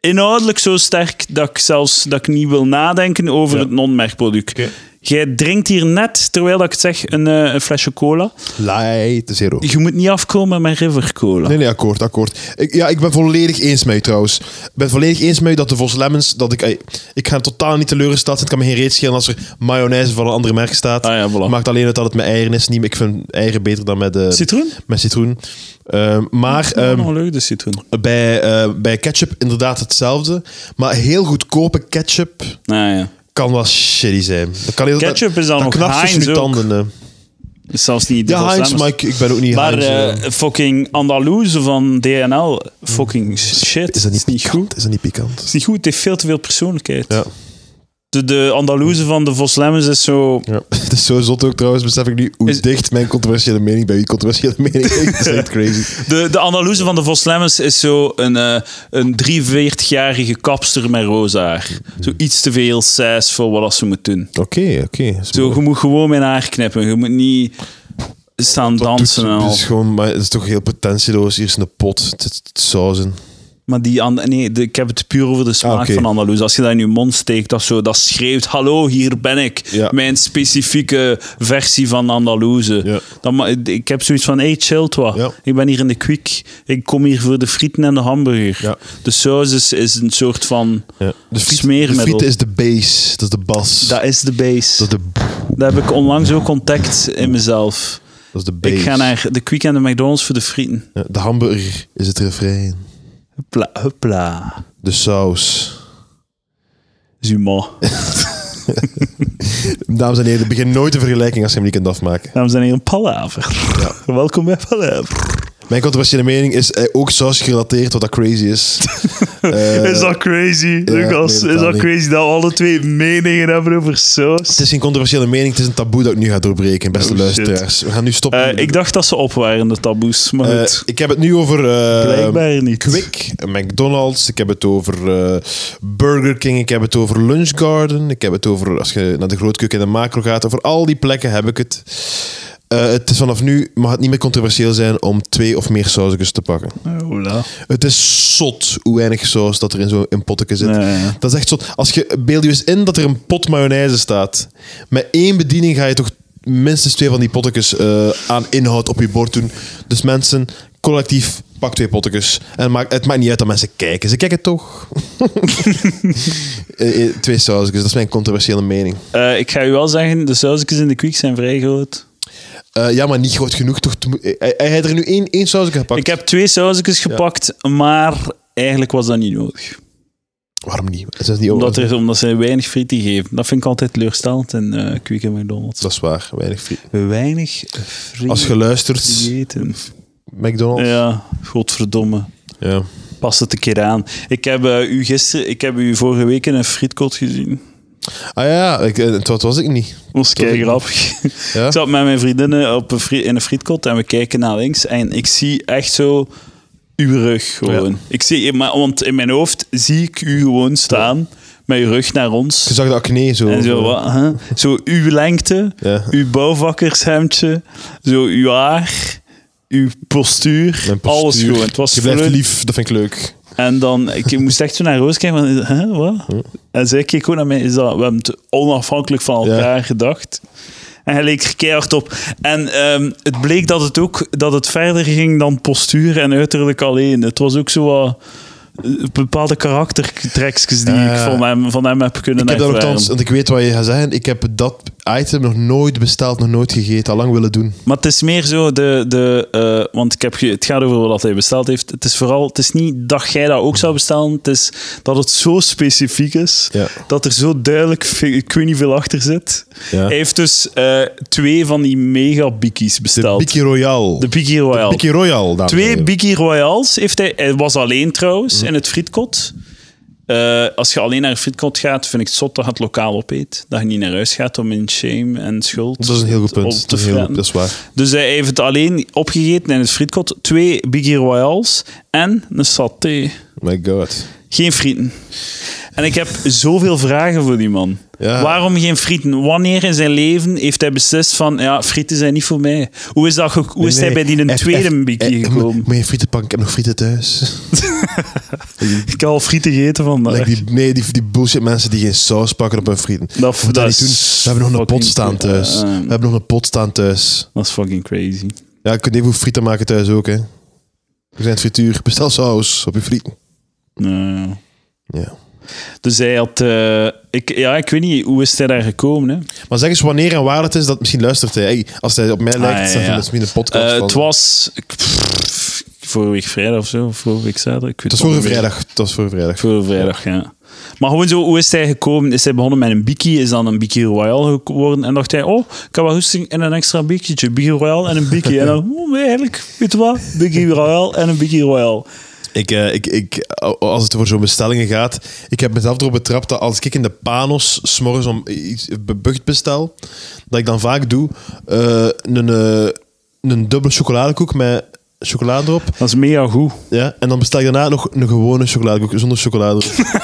inhoudelijk zo sterk dat ik zelfs dat ik niet wil nadenken over het non-merkproduct.
Oké.
Jij drinkt hier net, terwijl dat ik het zeg, een, eh, een flesje cola.
Light zero.
Je moet niet afkomen met River Cola.
Nee, nee, akkoord, akkoord. Ik, ja, ik ben volledig eens met u trouwens. Ik ben volledig eens met u dat de Vos Lemmens... Dat ik, eh, ik ga hem totaal niet teleurgesteld zijn. Het kan me geen reet schelen als er mayonaise van een andere merk staat.
Ah ja, voilà.
Maakt alleen uit dat het met eieren is. Niet, ik vind eieren beter dan met, eh,
Citroen?
met citroen. Ehm, maar...
Oh,
ehm,
nog leuk, de citroen.
bij, eh, bij ketchup inderdaad hetzelfde. Maar heel goedkope ketchup
Ah, ja.
kan wel shitty zijn. Dat kan heel,
Ketchup is dan
dat
nog
knarst tussen
Heinz
je
ook.
tanden. eh.
Is dus zelfs niet de
Ja,
Vos
Heinz,
Lemmens.
maar ik, ik ben ook niet
Maar
Heinz. eh.
eh, fucking Andalouse van DNL, fucking shit.
is dat niet
niet goed?
pikant? Is dat niet pikant?
is niet goed, het heeft veel te veel persoonlijkheid.
Ja.
De, de Andalouse van de Vos Lemmens is zo...
Ja. Het is zo zot ook trouwens, besef ik nu hoe
Is-
dicht mijn controversiële mening bij uw controversiële mening ligt. Dat is echt crazy.
De, de Andalouse van de Vos Lemmens is zo een, eh, een 43-jarige kapster met roze haar. Zo iets te veel sass voor wat ze moet doen.
Oké, oké.
Zo, je moet gewoon mijn haar knippen. Je moet niet staan dansen en
Het
al.
is gewoon, maar het is toch heel pretentieloos. Hier is een pot, het is het is sauzen.
Maar die and- nee, de- ik heb het puur over de smaak
Ah, oké.
van Andalouse. Als je dat in je mond steekt, dat, zo, dat schreeuwt: Hallo, hier ben ik.
Ja.
Mijn specifieke versie van Andalouse.
Ja.
Dan, ma- ik heb zoiets van: Hey, chill, toi.
Ja.
Ik ben hier in de kwik. Ik kom hier voor de frieten en de hamburger.
Ja.
De saus is, is een soort van
Ja. De, friet, de
smeermiddel.
friet is de bass, dat is de bas.
Dat is de base.
Dat is de,
Dat heb ik onlangs ook ontdekt in mezelf.
dat is de bass.
Ik ga naar de kwik en de McDonald's voor de frieten.
Ja, De hamburger is het refrein.
Huppla, huppla.
De saus.
Zuma.
Dames en heren, begin nooit een vergelijking als je hem niet kunt afmaken.
Dames en heren, Palaver. Welkom bij Palaver.
Mijn controversiële mening is eh, ook saus gerelateerd, wat dat crazy is. Eh,
Is dat crazy,
nee,
Lucas? is
totaal
dat
niet.
crazy dat we alle twee meningen hebben over
Het
saus?
is geen controversiële mening, het is een taboe dat ik nu ga doorbreken, beste
Oh, shit.
luisteraars. We gaan nu stoppen.
Eh, ik dacht dat ze op waren, de taboes, maar
Eh,
goed.
ik heb het nu over eh,
Blijkbaar niet.
Quick, McDonald's, ik heb het over eh, Burger King, ik heb het over Lunch Garden, ik heb het over, als je naar de grootkeuken en de macro gaat, over al die plekken heb ik het. Eh, het is vanaf nu, mag het niet meer controversieel zijn om twee of meer sausjes te pakken.
Eh, Hola.
Het is zot hoe weinig saus dat er in zo'n potje zit.
Ja, ja.
Dat is echt zot. Als je beeld je eens in dat er een pot mayonaise staat. Met één bediening ga je toch minstens twee van die potjes eh, aan inhoud op je bord doen. Dus mensen, collectief, pak twee potjes. En maak, het maakt niet uit dat mensen kijken. Ze kijken toch. Eh, eh, twee sausjes, dat is mijn controversiële mening.
Eh, ik ga u wel zeggen, de sausjes in de kwik zijn vrij groot.
Eh, ja, maar niet groot genoeg. Toch te mo- Eh, Hij hij had er nu één, één sausje gepakt.
Ik heb twee sausjes gepakt, maar eigenlijk was dat niet nodig.
Waarom niet? Het is niet
Omdat,
over-
er, omdat ze weinig frieten geven. Dat vind ik altijd teleurstellend in eh kwik en McDonald's.
Dat is waar, weinig friet.
Weinig frieten
Als je luistert,
eten.
McDonald's.
Ja, godverdomme.
Ja.
Pas het een keer aan. Ik heb, eh, u gister, ik heb u vorige week in een frietkot gezien.
Ah ja, ik, eh, dat was ik niet.
Dat was kei grappig.
Ja?
Ik zat met mijn vriendinnen op een frie- in een frietkot en we kijken naar links. En ik zie echt zo uw rug gewoon.
Ja.
Ik zie, maar, want in mijn hoofd zie ik u gewoon staan met uw rug naar
Je
ons.
zag de acne zo.
En zo, wat, hè? zo uw lengte,
Ja.
uw bouwvakkershemdje, zo uw haar, uw postuur,
Mijn
alles
postuur.
gewoon. Het was
Je blijft
voelen.
lief, dat vind ik leuk.
En dan, ik moest echt zo naar Roos kijken van, hè, wat?
Hm.
En zij keek gewoon naar mij, is dat, we hebben het onafhankelijk van elkaar gedacht. En hij leek er keihard op. En ehm, het bleek dat het ook, dat het verder ging dan postuur en uiterlijk alleen. Het was ook zo wat eh, bepaalde karaktertrekjes die
Eh,
ik van hem, van hem heb kunnen
Ik heb dat
ervaren.
nogthans, want ik weet wat je gaat zeggen. Ik heb dat item nog nooit besteld, nog nooit gegeten. Al lang willen doen.
Maar het is meer zo de. de eh, want ik heb ge- het gaat over wat hij besteld heeft. Het is vooral. Het is niet dat jij dat ook zou bestellen. Het is dat het zo specifiek is.
Ja.
Dat er zo duidelijk. ve- Ik weet niet veel achter zit.
Ja.
Hij heeft dus eh, twee van die mega bikkies besteld.
Bikkie Royal.
De Bikkie Royal.
Bikkie Royal, dames en
Twee
heren.
Biggie Royals heeft hij. Hij was alleen trouwens
Mhm.
in het frietkot. Eh, als je alleen naar het frietkot gaat, vind ik het zot dat je het lokaal opeet. Dat je niet naar huis gaat om in shame en schuld.
Dat is een heel goed
op
punt.
te
Dat is, een heel goed,
fretten.
dat is waar.
Dus hij heeft het alleen opgegeten in het frietkot. Twee Biggie Royals en een saté.
My god.
Geen frieten. En ik heb zoveel vragen voor die man.
Ja.
Waarom geen frieten? Wanneer in zijn leven heeft hij beslist van... Ja, frieten zijn niet voor mij. Hoe is, dat ge- hoe is hij bij die een tweede Biggie gekomen?
Moet je frietenpan? Ik heb nog frieten thuis.
Ik heb al frieten gegeten vandaag.
Like die, nee, die, die bullshit mensen die geen saus pakken op hun frieten.
dat,
Of dat niet doen. We hebben nog een pot staan thuis. We hebben nog een pot staan thuis.
dat is fucking crazy.
Ja, je kunt even frieten maken thuis ook, hè. We zijn het frituur. Bestel saus op je frieten.
Ja.
Ja.
Dus hij had... eh, ik, ja, ik weet niet. Hoe is hij daar gekomen? Hè?
Maar zeg eens wanneer en waar het is, dat misschien luistert hij. Hey, Als hij op mij lijkt,
Ah, ja,
dan
ja.
vindt misschien een podcast
Eh,
van.
het was ik- pff, vorige week vrijdag of zo, of vorige week zaterdag. Ik weet
Het was
het
vorige
niet meer.
vrijdag. Het was vorige vrijdag.
Vorige vrijdag, ja. Maar gewoon zo, hoe is hij gekomen? Is hij begonnen met een bikkie? Is dan een bikkie royal geworden? En dacht hij, oh, ik heb wel hoesting en een extra bikkietje. Bikkie royal en een bikkie. en dan, oh, nee, eigenlijk, weet je wat? Bikkie royal en een bikkie royal.
Ik, eh, ik, ik, als het voor zo'n bestellingen gaat, ik heb mezelf erop betrapt dat als ik in de Panos s'morgens om iets bebucht bestel, dat ik dan vaak doe eh, een, eh, een dubbele chocoladekoek met chocolade erop.
Dat is mega goed.
Ja, en dan bestel ik daarna nog een gewone chocoladekoek zonder chocolade erop.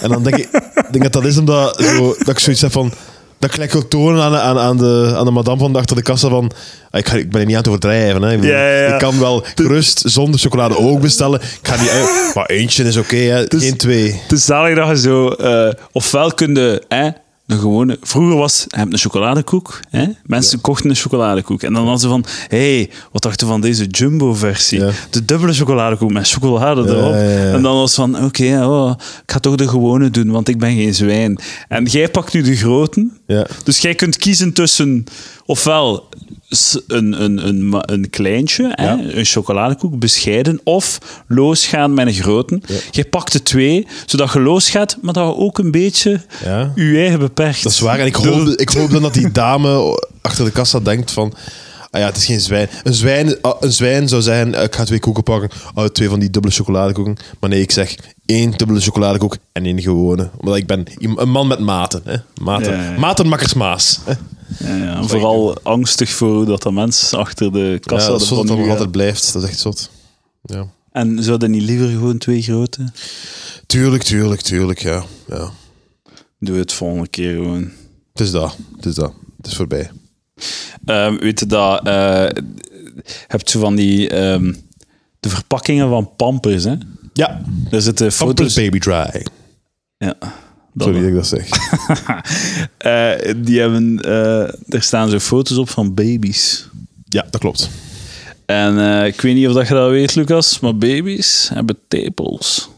en dan denk ik denk dat dat is omdat zo, dat ik zoiets heb van... Dat ik gelijk wil tonen aan, de- aan, aan, de, aan de madame van achter de kassa van... ah, Ik, ga, ik ben er niet aan het overdrijven. Hè. Ik, bedoel,
Ja, ja, ja.
ik kan wel gerust zonder chocolade ook bestellen. Ik ga niet... eh, Maar eentje is oké, hè.
Dus-
geen twee.
Het is zalig dat je zo... eh, ofwel kun je... Hè, een gewone, vroeger was je hebt een chocoladekoek. Hè? Mensen kochten een chocoladekoek. En dan hadden ze van: hé, hey, wat dacht je van deze jumbo-versie?
Ja.
De dubbele chocoladekoek met chocolade
Ja,
erop.
ja, ja.
En dan was van: oké, oh, ik ga toch de gewone doen, want ik ben geen zwijn. En jij pakt nu de grote.
Ja.
Dus jij kunt kiezen tussen ofwel s- een, een, een, ma- een kleintje,
Ja.
hè, een chocoladekoek, bescheiden, of losgaan met een grote. Jij pakt de twee, zodat je losgaat, maar dat je ook een beetje
Ja.
je eigen beperkt.
Dat is waar. En ik hoop, ik hoop dan dat die dame achter de kassa denkt van... Ah ja, het is geen zwijn. Een zwijn, ah, een zwijn zou zijn, eh, ik ga twee koeken pakken. Oh, twee van die dubbele chocoladekoeken. Maar nee, ik zeg één dubbele chocoladekoek en één gewone. Omdat ik ben iem- een man met maten. Hè? Maten,
Ja, ja, ja.
Matenmakkersmaas. hè.
Ja, ja, vooral angstig voor hoe dat de mens achter de
Ja,
kassa
dat is
ervan
zot dat dat
nu
nog
gaat.
altijd blijft. Dat is echt zot. Ja.
En zouden niet liever gewoon twee grote?
Tuurlijk, tuurlijk, tuurlijk, ja. ja.
Doe het volgende keer gewoon.
Het is dat. Het is dat. Het is voorbij.
Ehm, weet je dat? eh hebt zo van die. ehm, de verpakkingen van Pampers, hè?
Ja,
Daar zitten
Pampers
foto's.
Baby Dry.
Ja. dat
Sorry dat
wel.
ik dat zeg.
Eh, die hebben, eh, er staan zo foto's op van baby's.
Ja, dat klopt.
En eh, ik weet niet of dat je dat weet, Lucas, maar baby's hebben tepels.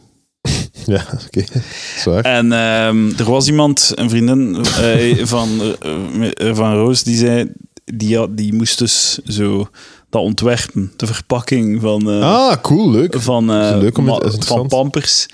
Ja, oké. Zwaar.
En ehm, er was iemand, een vriendin eh, van, eh, eh, van Roos, die zei, die, had- die moest dus zo dat ontwerpen, de verpakking van... eh,
Ah, cool, leuk.
van, eh,
is leuk om-
ma-
is interessant.
van pampers.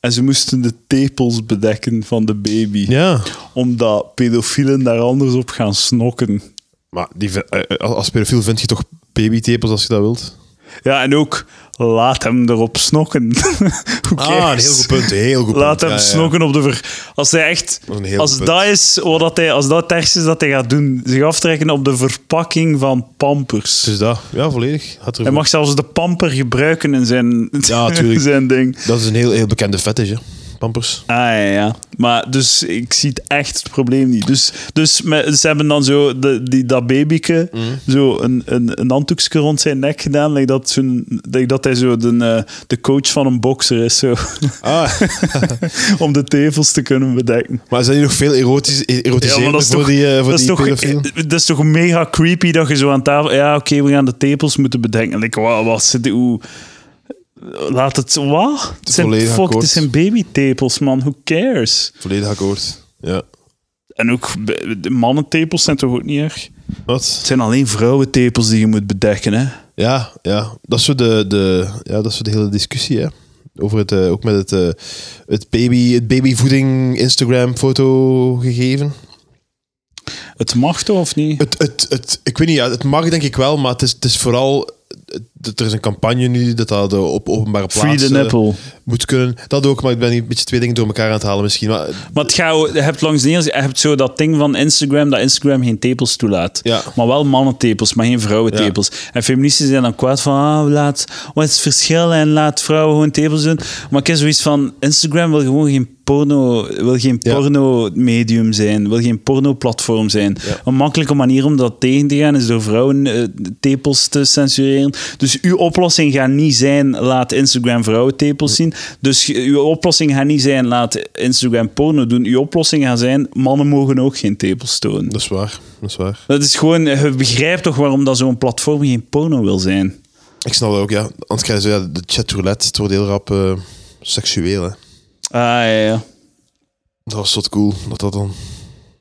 En ze moesten de tepels bedekken van de baby.
Ja.
Omdat pedofielen daar anders op gaan snokken.
Maar die, ve- eh, eh, als als pedofiel vind je toch babytepels als je dat wilt?
Ja, en ook laat hem erop snokken. Hoe
Ah, een
cares?
heel goed punt. Heel goed
Laat
punt.
hem
Ja, ja, ja.
snokken op de ver... Als hij echt...
Dat is een heel
Als
goed
dat is wat dat hij... Als dat het ergste is dat hij gaat doen. Zich aftrekken op de verpakking van pampers.
Dus dat. Ja, volledig. Had er
hij mag zelfs de pamper gebruiken in zijn,
Ja, tuurlijk.
zijn ding.
Dat is een heel, heel bekende fetish, hè. pampers.
Ah ja, ja. Maar dus ik zie het echt het probleem niet. Dus, dus me- ze hebben dan zo de, die, dat babyke
Mhm.
zo een, een, een handdoekje rond zijn nek gedaan. Like dat, zo'n- like dat hij zo de, eh, de coach van een bokser is. Zo,
Ah,
om de tevels te kunnen bedekken.
maar zijn die nog veel erotisch, erotiserender
Ja, maar dat is
voor
toch-
die, eh, voor
Dat is,
die
toch,
pedofielen?
eh, dat is toch mega creepy dat je zo aan tafel. Ja, oké, we gaan de tepels moeten bedenken. Like, wat, wat zit hoe. Laat het. Wat? Het zijn,
Volledig
fuck,
akkoord.
het zijn babytepels, man. Who cares?
Volledig akkoord. Ja.
En ook be- de mannentepels zijn toch ook niet erg?
Wat?
Het zijn alleen vrouwentepels die je moet bedekken, hè?
Ja, ja. Dat is zo de, de, ja, dat is zo de hele discussie, hè. Over het, eh, ook met het, eh, het, baby, het babyvoeding Instagram-foto gegeven.
Het mag toch, of niet?
Het, het, het, ik weet niet, ja, het mag denk ik wel, maar het is, het is vooral... het- het- Er is een campagne nu dat dat eh, op openbare
Free
plaatsen
the nipple.
moet kunnen. Dat ook, maar ik ben hier een beetje twee dingen door elkaar aan het halen misschien. Maar
Maar het gaat ook- je hebt langs de ene- je hebt zo dat ding van Instagram, dat Instagram geen tepels toelaat.
Ja.
Maar wel mannentepels, maar geen vrouwentepels. En feministen zijn dan kwaad van, ah, laat, wat is het verschil en laat vrouwen gewoon tepels doen. Maar ik heb zoiets van, Instagram wil gewoon geen porno, wil geen
Ja.
porno medium zijn, wil geen porno platform zijn.
Ja.
Een makkelijke manier om dat tegen te gaan is door vrouwen eh, tepels te censureren. Dus uw oplossing gaat niet zijn, laat Instagram vrouwentepels zien. Dus je- uw oplossing gaat niet zijn, laat Instagram porno doen. Uw oplossing gaat zijn, mannen mogen ook geen tepels tonen.
dat is waar, dat is waar.
Dat is gewoon, je begrijpt toch waarom dat zo'n platform geen porno wil zijn.
Ik snap dat ook, ja. Anders krijg je zo, ja, de chat roulette, het wordt heel rap eh, seksueel, hè.
Ah ja, ja.
Dat was wat cool, dat dat dan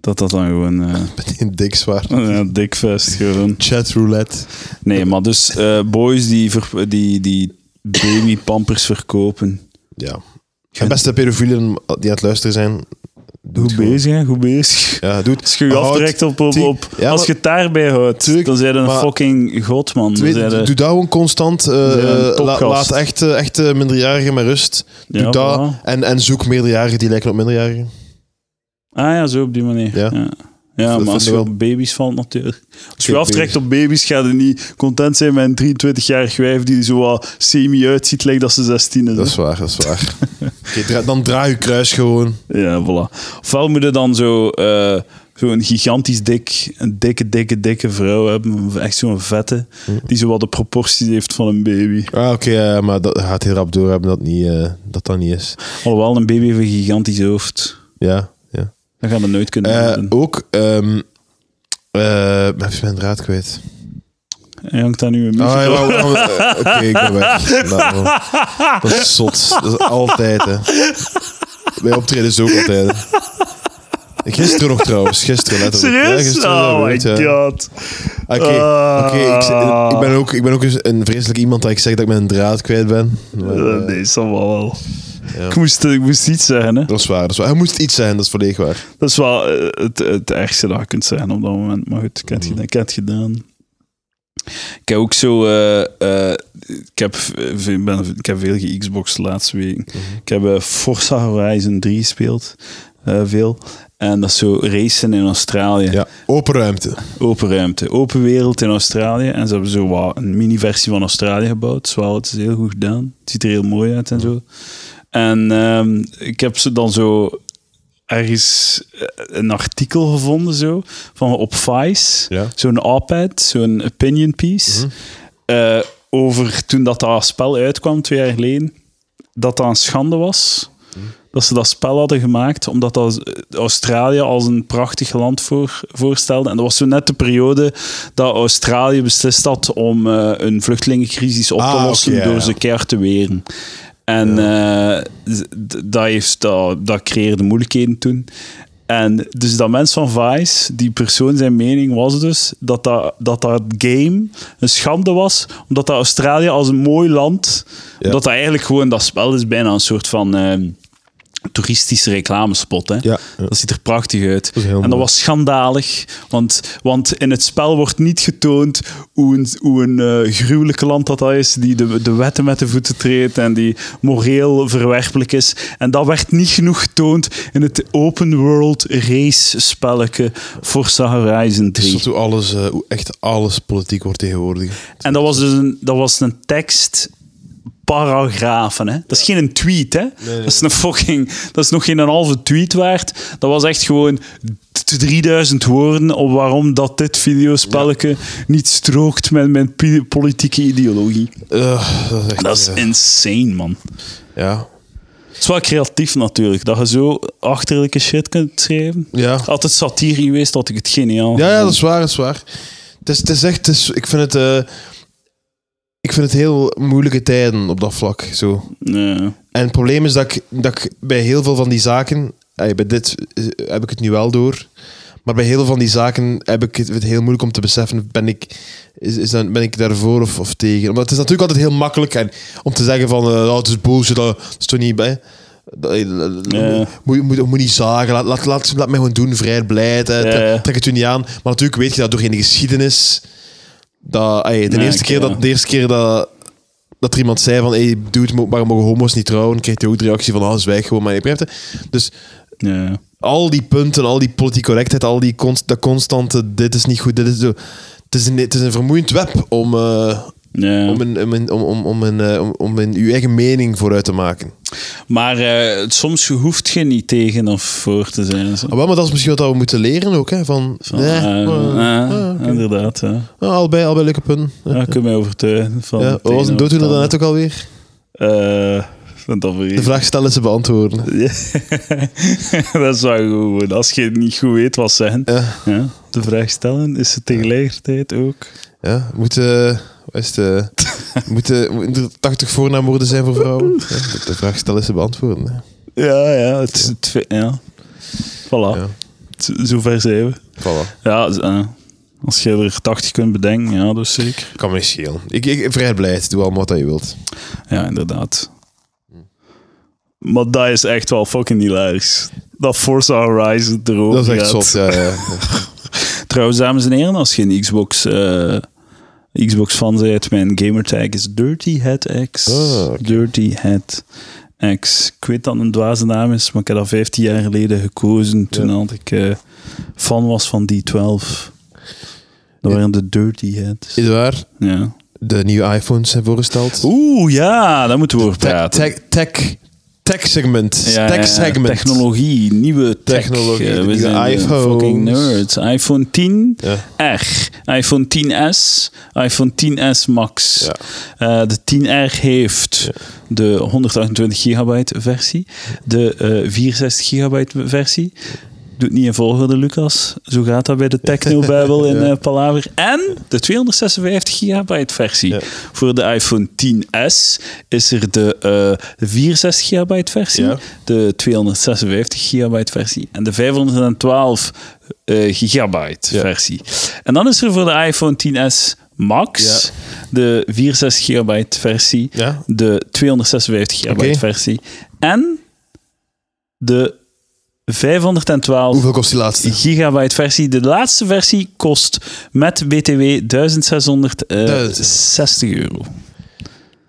Dat dat dan gewoon eh
meteen dik zwaar.
een dikvest gewoon.
Chat roulette.
Nee, maar dus eh, boys die, ver- die, die babypampers verkopen.
Ja. En beste pedofielen die aan het luisteren zijn, doe het
Goed
gewoon.
bezig, hè? Goed bezig.
Ja, doe het.
Als je je
Houd-
aftrekt op... op,
die-
op
Ja,
als
maar-
je het daarbij houdt,
Tuurlijk,
dan zijn je een
maar-
fucking god, man. Dan
Twee-
zijn je-
doe dat gewoon constant. eh,
zijn een
eh, la-
topgast.
laat echt, eh, echt eh, minderjarigen met rust. Doe
Ja,
dat.
voilà.
En, en zoek meerderjarigen die lijken op minderjarigen.
Ah ja, zo op die manier.
Ja.
Ja, ja.
Dat
maar als je
vinden we
op baby's valt natuurlijk. Als je
Kijk,
aftrekt op baby's, ga je niet content zijn met een 23-jarig wijf die er zo wat semi uitziet, lijkt dat ze 16 is.
Dat is waar, dat is waar. Oké, dra- dan draai je kruis gewoon.
Ja, voilà. Ofwel moet je dan zo, eh, zo een gigantisch dik, een dikke, dikke, dikke vrouw hebben. Echt zo'n vette.
Hm.
Die zo wat de proporties heeft van een baby.
Ah, oké, eh, maar dat gaat heel rap door hebben dat niet, eh, dat, dat niet is.
Alhoewel, een baby heeft een gigantisch hoofd.
Ja, ja.
Dat gaan we nooit kunnen
Eh,
doen.
ook, ehm eh, heb je mijn draad kwijt?
Hij hangt daar nu een
Ah,
muziek
ja,
op.
wauw, wauw, eh, Oké, ik ben weg. Nou, dat is zot. Dat is altijd, hè. Bij optredens ook altijd. hè. Gisteren nog trouwens. Gisteren, letterlijk. Ja,
Serieus?
gisteren, dat
oh my
weet je.
god.
Ah, Oké,
Ah.
oké, ik, zeg- ik ben ook, ik ben ook eens een vreselijk iemand dat ik zeg dat ik mijn draad kwijt ben. Maar,
Eh,
eh,
nee, is allemaal wel.
Ja.
Ik, moest, ik moest iets zeggen, hè.
Dat is waar, dat is waar. Hij moest iets zijn, dat is volledig waar.
Dat is wel eh, het, het ergste dat je kunt zeggen op dat moment. Maar goed, ik heb het, gedaan, ik heb het gedaan. Ik heb ook zo... eh, eh, ik, heb, veel- ik ben, ik heb veel ge-Xbox de laatste week. Ik heb eh, Forza Horizon 3 gespeeld. eh, veel. En dat is zo racen in Australië.
Ja, open ruimte.
open ruimte, open wereld in Australië. En ze hebben zo wat een mini-versie van Australië gebouwd. Zowel, het is heel goed gedaan. Het ziet er heel mooi uit en zo. En ehm, ik heb ze dan zo ergens eh, een artikel gevonden zo, van op Vice.
Ja.
Zo'n op-ed, zo'n opinion piece. eh, over toen dat, dat spel uitkwam, twee jaar geleden. Dat dat een schande was. Dat ze dat spel hadden gemaakt, omdat dat Australië als een prachtig land voor, voorstelde. En dat was zo net de periode dat Australië beslist had om eh, een vluchtelingencrisis op te
Ah, oké,
lossen
ja,
door
ja.
ze keer te weren. En eh, z- d- dat, heeft, dat, dat creëerde moeilijkheden toen. En dus dat mens van Vice, die persoon, zijn mening was dus dat dat, dat, dat game een schande was, omdat dat Australië als een mooi land,
Ja.
omdat dat eigenlijk gewoon dat spel is bijna een soort van eh, toeristische reclamespot. Hè?
Ja, ja.
Dat ziet er prachtig uit.
is heel
en dat
mooi.
was schandalig, want, want in het spel wordt niet getoond hoe een, hoe een eh, gruwelijk land dat dat is, die de, de wetten met de voeten treedt en die moreel verwerpelijk is. En dat werd niet genoeg getoond in het open world race spelletje Forza Horizon 3.
Dus tot hoe alles, eh, hoe echt alles politiek wordt tegenwoordig.
En dat was dus een, dat was een tekst paragrafen. Hè? Dat is geen een tweet, hè? Dat is een fucking. Dat is nog geen een halve tweet waard. Dat was echt gewoon t- 3000 woorden op waarom dat dit videospelletje niet strookt met mijn pi- politieke ideologie.
Eh, dat is echt...
Dat is
eh,
insane, man.
ja.
Het is wel creatief natuurlijk, dat je zo achterlijke shit kunt schrijven.
Ja.
Had het satire geweest, had ik het geniaal.
Ja, ja, dat is waar, dat is waar. Het is, het is echt, het is, ik vind het, eh, ik vind het heel moeilijke tijden op dat vlak. Zo.
Nee.
En het probleem is dat ik, dat ik bij heel veel van die zaken, ey, bij dit eh, heb ik het nu wel door, maar bij heel veel van die zaken heb ik het, het heel moeilijk om te beseffen, ben ik, is, is dan, ben ik daarvoor of, of tegen? Omdat het is natuurlijk altijd heel makkelijk en, om te zeggen van, eh, oh, het is bullshit, dat, dat is toch niet bij. Dat- eh, dat-
Ja.
Moet, moet, moet niet zagen, laat, laat, laat, laat mij gewoon doen, vrijheid, blijheid. hè.
Ja,
Tre-
ja.
Trek het u niet aan. Maar natuurlijk weet je dat doorheen de geschiedenis. Dat, ey, de,
Ja,
eerste
ik, eh,
keer
ja.
dat, de eerste keer dat, dat er iemand zei van hey, dude, mo- waarom mogen homo's niet trouwen? kreeg hij ook de reactie van ah, zwijg gewoon, maar je begrijpt het. Dus
Nee.
al die punten, al die politieke correctheid, al die const, dat constante dit is niet goed, dit is zo. Het is een, het is een vermoeiend web om, eh,
Nee.
om, een, om, een, om, om, om, een, eh, om, om een, uw eigen mening vooruit te maken.
Maar eh, soms hoeft je niet tegen of voor te zijn. Zo.
Ah, wel, maar dat is misschien wat we moeten leren ook. Hè? Van,
Van,
nee,
eh,
eh,
eh,
ah, oké.
Inderdaad, ja.
Ah, allebei, allebei leuke punten.
Ja, ik kan mij overtuigen. Van
Ja,
het
wat was een
een
dooddoener
of
dan
het
net ook alweer?
ander. Eh, van dat weer.
De vraag stellen ze beantwoorden.
dat is wel goed. worden. Als je het niet goed weet wat zeggen.
Ja,
Ja. De vraag stellen is het tegelijkertijd ook.
ja. Moeten, wat is het, eh, moeten, moeten er 80 voornaamwoorden zijn voor vrouwen? Ja, de vraag stellen ze beantwoorden. hè.
Ja, ja. Het, is het, ja. Voilà.
Ja.
Zo- Zover zijn we.
Voilà.
Ja, z- eh, als je er 80 kunt bedenken, ja, dus zeker.
Kan me niet schelen. Ik, ik, vrijheid blijheid. Doe allemaal wat je wilt.
Ja, inderdaad. Maar dat is echt wel fucking hilarisch. Dat Forza Horizon erover
Dat is echt
gaat.
zot. Ja, ja.
Trouwens, dames en heren, als je een Xbox, eh, Xbox fan bent, mijn gamertag is Dirty Head X.
Ah, oké.
Dirty Head X. Ik weet dat het een dwaze naam is, maar ik heb dat 15 jaar geleden gekozen toen
Ja.
had ik eh, fan was van D12. Dat waren de Dirty Heads.
Is het waar?
Ja.
De nieuwe iPhones zijn voorgesteld.
Oeh, ja, daar moeten we over
Tech,
praten.
tech, tech, tech segment.
Ja,
tech
ja, ja.
segment.
Technologie, nieuwe tech.
Technologie,
Eh,
de
we
nieuwe
zijn eh,
iPhones.
fucking nerds. iPhone 10
Ja.
R, iPhone 10S, iPhone 10S Max.
Ja.
Eh, de 10R heeft de 128 gigabyte versie, de eh 64 gigabyte versie. Doe het niet in volgorde, Lucas. Zo gaat dat bij de Technobabel in
Ja.
eh, Palaver. En de 256 gigabyte versie.
Ja.
Voor de iPhone 10S is er de eh 64 gigabyte versie,
Ja.
de 256 gigabyte versie en de 512 eh, gigabyte
Ja.
versie. En dan is er voor de iPhone 10S Max
Ja.
de 64 gigabyte versie,
Ja.
de 256 gigabyte
Oké.
versie en de 512
Hoeveel kost die laatste?
gigabyte versie. De laatste versie kost met BTW 1660 eh, euro.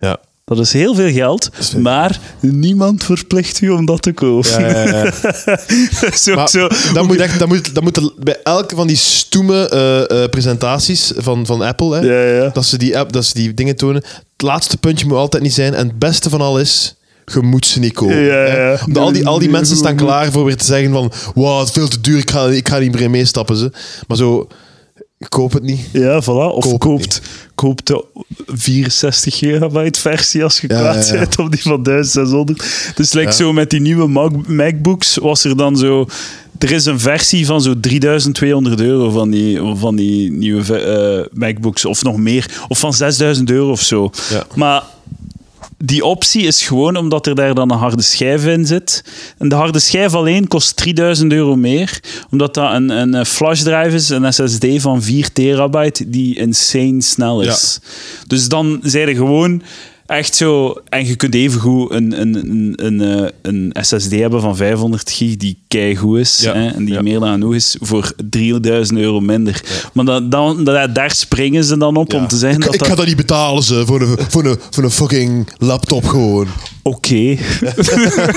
Ja.
Dat is heel veel geld,
Zeker.
maar niemand verplicht u om dat te kopen.
Ja, ja, ja.
Dat is ook
Maar
zo.
Dat moet, echt, dat moet, dat moet er- bij elke van die stoeme eh, eh, presentaties van, van Apple, hè,
Ja, ja.
dat, ze die app, dat ze die dingen tonen. Het laatste puntje moet altijd niet zijn. En het beste van al is, je moet ze niet kopen.
Ja, ja.
hè. Omdat al, die, al die mensen staan klaar voor weer te zeggen van, wow, het is veel te duur, ik ga, ik ga niet meer in meestappen. Ze. Maar zo, koop het niet.
Ja, voilà. Of
Koop het
koopt, koopt de 64 gigabyte versie als je
Ja,
kwaad
ja, ja.
bent op die van 1600. Dus like
Ja.
zo met die nieuwe Mac- MacBooks was er dan zo... Er is een versie van zo 3200 euro van die, van die nieuwe ve- eh, MacBooks. Of nog meer. Of van 6000 euro of zo.
Ja.
Maar die optie is gewoon omdat er daar dan een harde schijf in zit. En de harde schijf alleen kost 3000 euro meer, omdat dat een, een eh, flashdrive is, een SSD van 4 terabyte, die insane snel is. Dus dan zijn er gewoon echt zo... En je kunt evengoed een, een, een, een, eh, een SSD hebben van 500 gig, die keigoed is,
Ja.
hè, en die
Ja.
meer dan genoeg is, voor 3000 euro minder. Maar dan, dan, da- daar springen ze dan op om
Ja.
te zeggen
ik,
dat
ik
dat...
ga dat niet betalen ze, voor, een, voor, een, voor een fucking laptop gewoon.
Oké.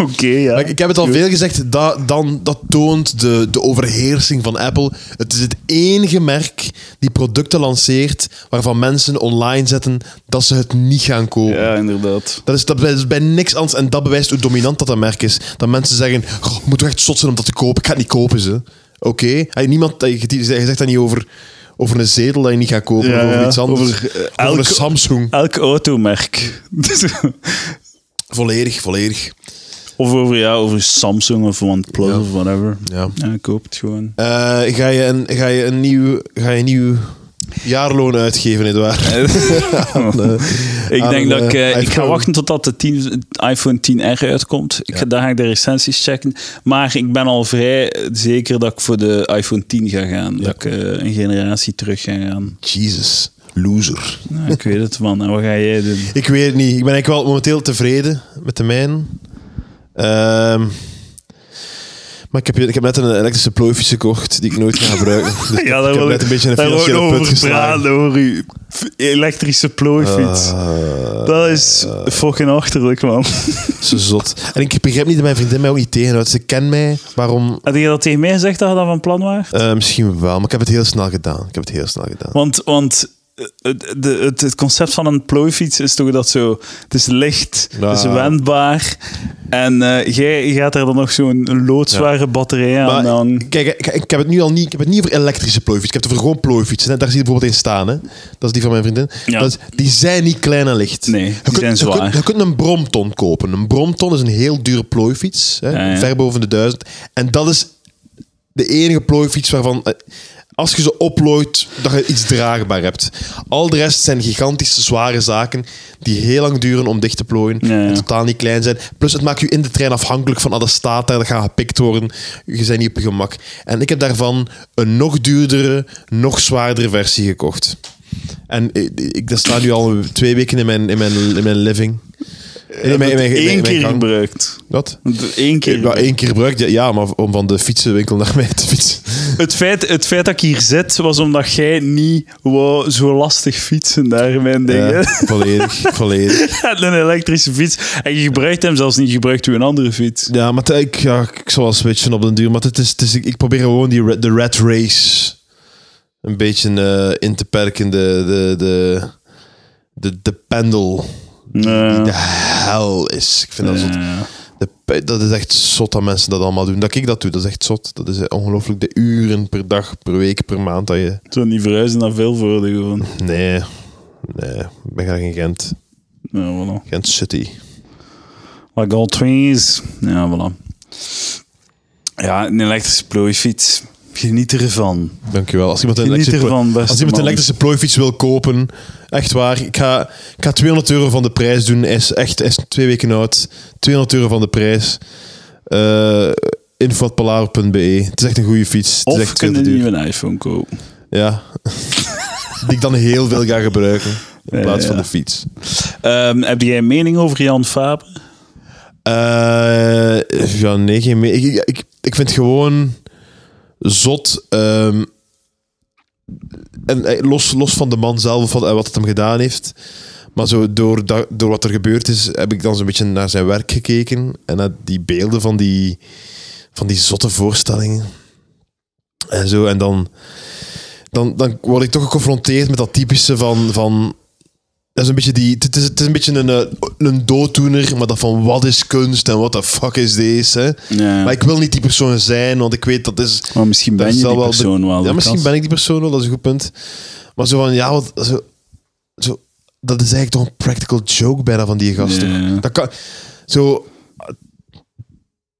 Oké, ja.
Maar ik, ik heb het al veel gezegd, dat, dan, dat toont de, de overheersing van Apple. Het is het enige merk die producten lanceert waarvan mensen online zetten dat ze het niet gaan kopen.
Ja, inderdaad.
Dat is, dat is bij niks anders en dat bewijst hoe dominant dat, dat merk is. Dat mensen zeggen, "Goh, ik moet echt zot zijn om dat te kopen, ik ga het niet kopen ze. Oké, Hey, niemand, je je zegt dat niet over, over een zetel dat je niet gaat kopen
Ja,
of over
ja.
iets anders.
Over,
Over,
eh, elk-
een Samsung.
Elk automerk.
Volledig, volledig.
of over, ja, over Samsung of OnePlus
Ja.
of whatever.
Ja.
Ja, koop het gewoon.
Eh, ga, je een, ga, je een nieuw, ga je een nieuw jaarloon uitgeven,
Eh.
Edouard?
ik
aan
denk
een,
dat ik, eh,
eh,
ik ga
iPhone.
wachten totdat de 10, het iPhone 10R uitkomt. Ik ga, dan ga ik de recensies checken. Maar ik ben al vrij zeker dat ik voor de iPhone 10 ga gaan. Dat ik eh, een generatie terug ga gaan.
Jesus, loser.
Nou, ik weet het, man. En wat ga jij doen?
Ik weet het niet. Ik ben eigenlijk wel momenteel tevreden met de mijne. Ehm, maar ik heb, ik heb net een elektrische plooifiets gekocht die ik nooit ga gebruiken. Dus
Ja, daar
ik heb
wil
net een beetje in een
daar wil ik
financiële put
over
geslagen.
praten, over uw f- elektrische plooifiets.
Ah,
dat is fucking achterlijk, man.
zo zot. En ik begrijp niet dat mijn vriendin mij ook niet tegenhoudt. Ze kent mij. Waarom?
Had je dat tegen mij gezegd dat je dat van plan was?
Eh, misschien wel, maar ik heb het heel snel gedaan. Ik heb het heel snel gedaan.
Want, want eh, het, de- het, het concept van een plooifiets is toch dat zo... Het is licht, het is
Ja.
wendbaar. En eh, jij gaat er dan nog zo'n loodzware batterij aan.
Maar,
hangen.
Kijk, ik, ik heb het nu al niet, ik heb het niet over elektrische plooifiets. Ik heb het over gewoon plooifietsen. hè. Daar zie je bijvoorbeeld in staan. Hè? Dat is die van mijn vriendin.
Ja.
Dat, die zijn niet klein en licht.
Nee,
Je
die
kunt-
zijn
je
zwaar.
kunt- Je kunt een Bromton kopen. Een Bromton is een heel dure plooifiets. Hè?
Ja, ja.
Ver boven de duizend. En dat is de enige plooifiets waarvan... eh, Als je ze oplooit, dat je iets draagbaar hebt. Al de rest zijn gigantische, zware zaken die heel lang duren om dicht te plooien.
Ja, ja.
En totaal niet klein zijn. Plus, het maakt je in de trein afhankelijk van, ah, dat staat daar, dat gaat gepikt worden. Je bent niet op je gemak. En ik heb daarvan een nog duurdere, nog zwaardere versie gekocht. En eh, ik, dat staat nu al twee weken in mijn, in mijn, in mijn living. In mijn, in mijn, in mijn- in
Eén
mijn
Eh, keer
gang.
gebruikt.
Wat?
Eén keer.
Ja, één keer gebruikt, ja, ja, maar om van de fietsenwinkel naar mij te fietsen.
Het feit, het feit dat ik hier zit, was omdat jij niet wou zo lastig fietsen daar, mijn ding. hè.
Ja, volledig, volledig.
En een elektrische fiets. En je gebruikt hem zelfs niet, je gebruikt u een andere fiets.
Ja, maar t- ik, ja, ik zal wel switchen op den duur. Maar het is, het is, ik probeer gewoon die, ra- de rat race een beetje eh, in te perken. De, de, de, de, de pendel die de hel is. Ik vind dat zot. De pe- dat is echt zot dat mensen dat allemaal doen. Dat ik dat doe, dat is echt zot. Dat is eh, ongelooflijk de uren per dag, per week, per maand dat je...
Toen die verhuizen naar Vilvoorde gewoon.
Nee, nee. Ik ben graag in Gent.
Ja, voilà.
Gent City.
Like all trees. Ja, voilà. Ja, een elektrische plooifiets. Geniet ervan.
Dankjewel. Als iemand een
Geniet
elektrische,
ervan,
plo-
beste
als iemand een
man.
elektrische plooifiets wil kopen, echt waar. Ik ga, ik ga 200 euro van de prijs doen. Hij is echt hij is twee weken oud. 200 euro van de prijs. Eh info@palaver.be. Het is echt een goede fiets. Het is
Of
echt veel te
kunnen
duur.
nu een iPhone kopen.
Ja. Die ik dan heel veel ga gebruiken. In
Ja,
plaats
ja.
van de fiets.
Ehm, heb jij een mening over Jan Faber?
Eh, ja, nee, geen me- ik, ik- ik, ik vind het gewoon zot. ehm, en eh, los, los van de man zelf of wat, en wat het hem gedaan heeft. Maar zo door, da- door wat er gebeurd is, heb ik dan zo'n beetje naar zijn werk gekeken. En naar die beelden van die, van die zotte voorstellingen. En zo. En dan, dan, dan word ik toch geconfronteerd met dat typische van. van dat is een beetje die. Het is, het is een beetje een, eh, een dooddoener, maar dat van wat is kunst en wat de fuck is deze. hè?
Ja.
Maar
Maar,
ik wil niet die persoon zijn, want ik weet dat is.
misschien
Daar
ben je
zal
die
wel de-
persoon wel.
Ja,
dat
misschien
kan.
ben ik die persoon wel, dat is een goed punt. Maar zo van, ja, wat, zo, zo, dat is eigenlijk toch een practical joke bijna van die gasten.
Ja.
Dat kan, zo,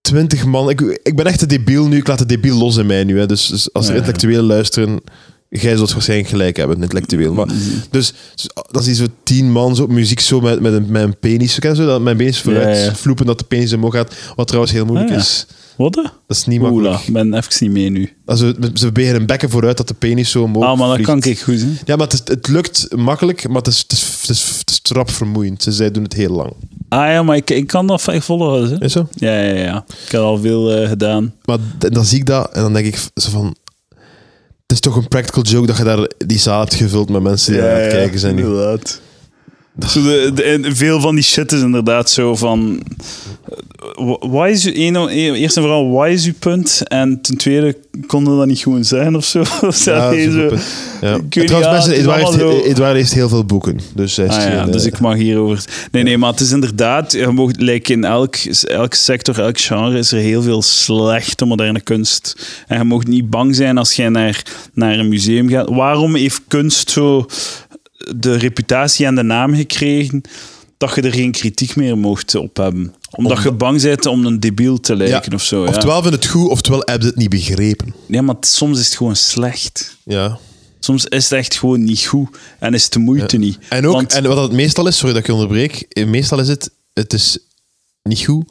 twintig man, ik, ik ben echt de debiel nu, ik laat de debiel los in mij nu. Hè, dus, dus als er
Ja, ja.
intellectuelen luisteren, jij zult waarschijnlijk gelijk hebben, intellectueel.
Mhm.
Maar, dus, dus dat is zo tien man zo op muziek zo met, met, een, met een penis, ken je zo, dat mijn penis vooruit
Ja, ja.
vloepen dat de penis omhoog gaat, wat trouwens heel moeilijk
Ah, ja.
is.
Wat? hè?
Dat is niet makkelijk. Oh,
Oela, ik ben even niet mee nu.
Also, ze proberen een bekken vooruit dat de penis zo omhoog
Ah, maar dat
vliegt.
kan ik goed, hè?
Ja, maar het, is- het lukt makkelijk, maar het is, het is, het is, het is trap vermoeiend. Ze zij doen het heel lang.
Ah ja, maar ik, ik kan dat echt volgen, hè?
Is zo?
Ja, ja, ja. Ik heb al veel eh, gedaan.
Maar d- dan zie ik dat en dan denk ik v- zo van... Het is toch een practical joke dat je daar die zaal hebt gevuld met mensen die aan het kijken zijn. nu.
inderdaad. Zo Dus de, de- en veel van die shit is inderdaad zo van... eh, Why is u, één- één- eerst en vooral, why is uw punt? En ten tweede, konden dat niet gewoon zijn of zo? Of zijn
Ja, dat is
deze-
een punt. Ja.
Ik weet
Trouwens, mensen,
niet, ja, het is
Edouard heeft,
allemaal zo-
Edouard heeft heel veel boeken. Dus, hij is
Ah ja,
geen,
dus
eh,
ik mag hierover. Nee, nee, maar het is inderdaad. Je mag, like in elk, elk sector, elk genre is er heel veel slechte moderne kunst. En je mag niet bang zijn als jij naar, naar een museum gaat. Waarom heeft kunst zo de reputatie en de naam gekregen dat je er geen kritiek meer mocht op hebben? Omdat je bang bent om een debiel te lijken of zo. Ja.
Oftewel vind het goed, oftewel heb je het niet begrepen.
ja, maar t- soms is het gewoon slecht.
Ja.
Soms is het echt gewoon niet goed en is het de moeite niet.
En, ook,
Want-
en wat het meestal is, sorry dat ik je onderbreek, eh, meestal is het, het is niet goed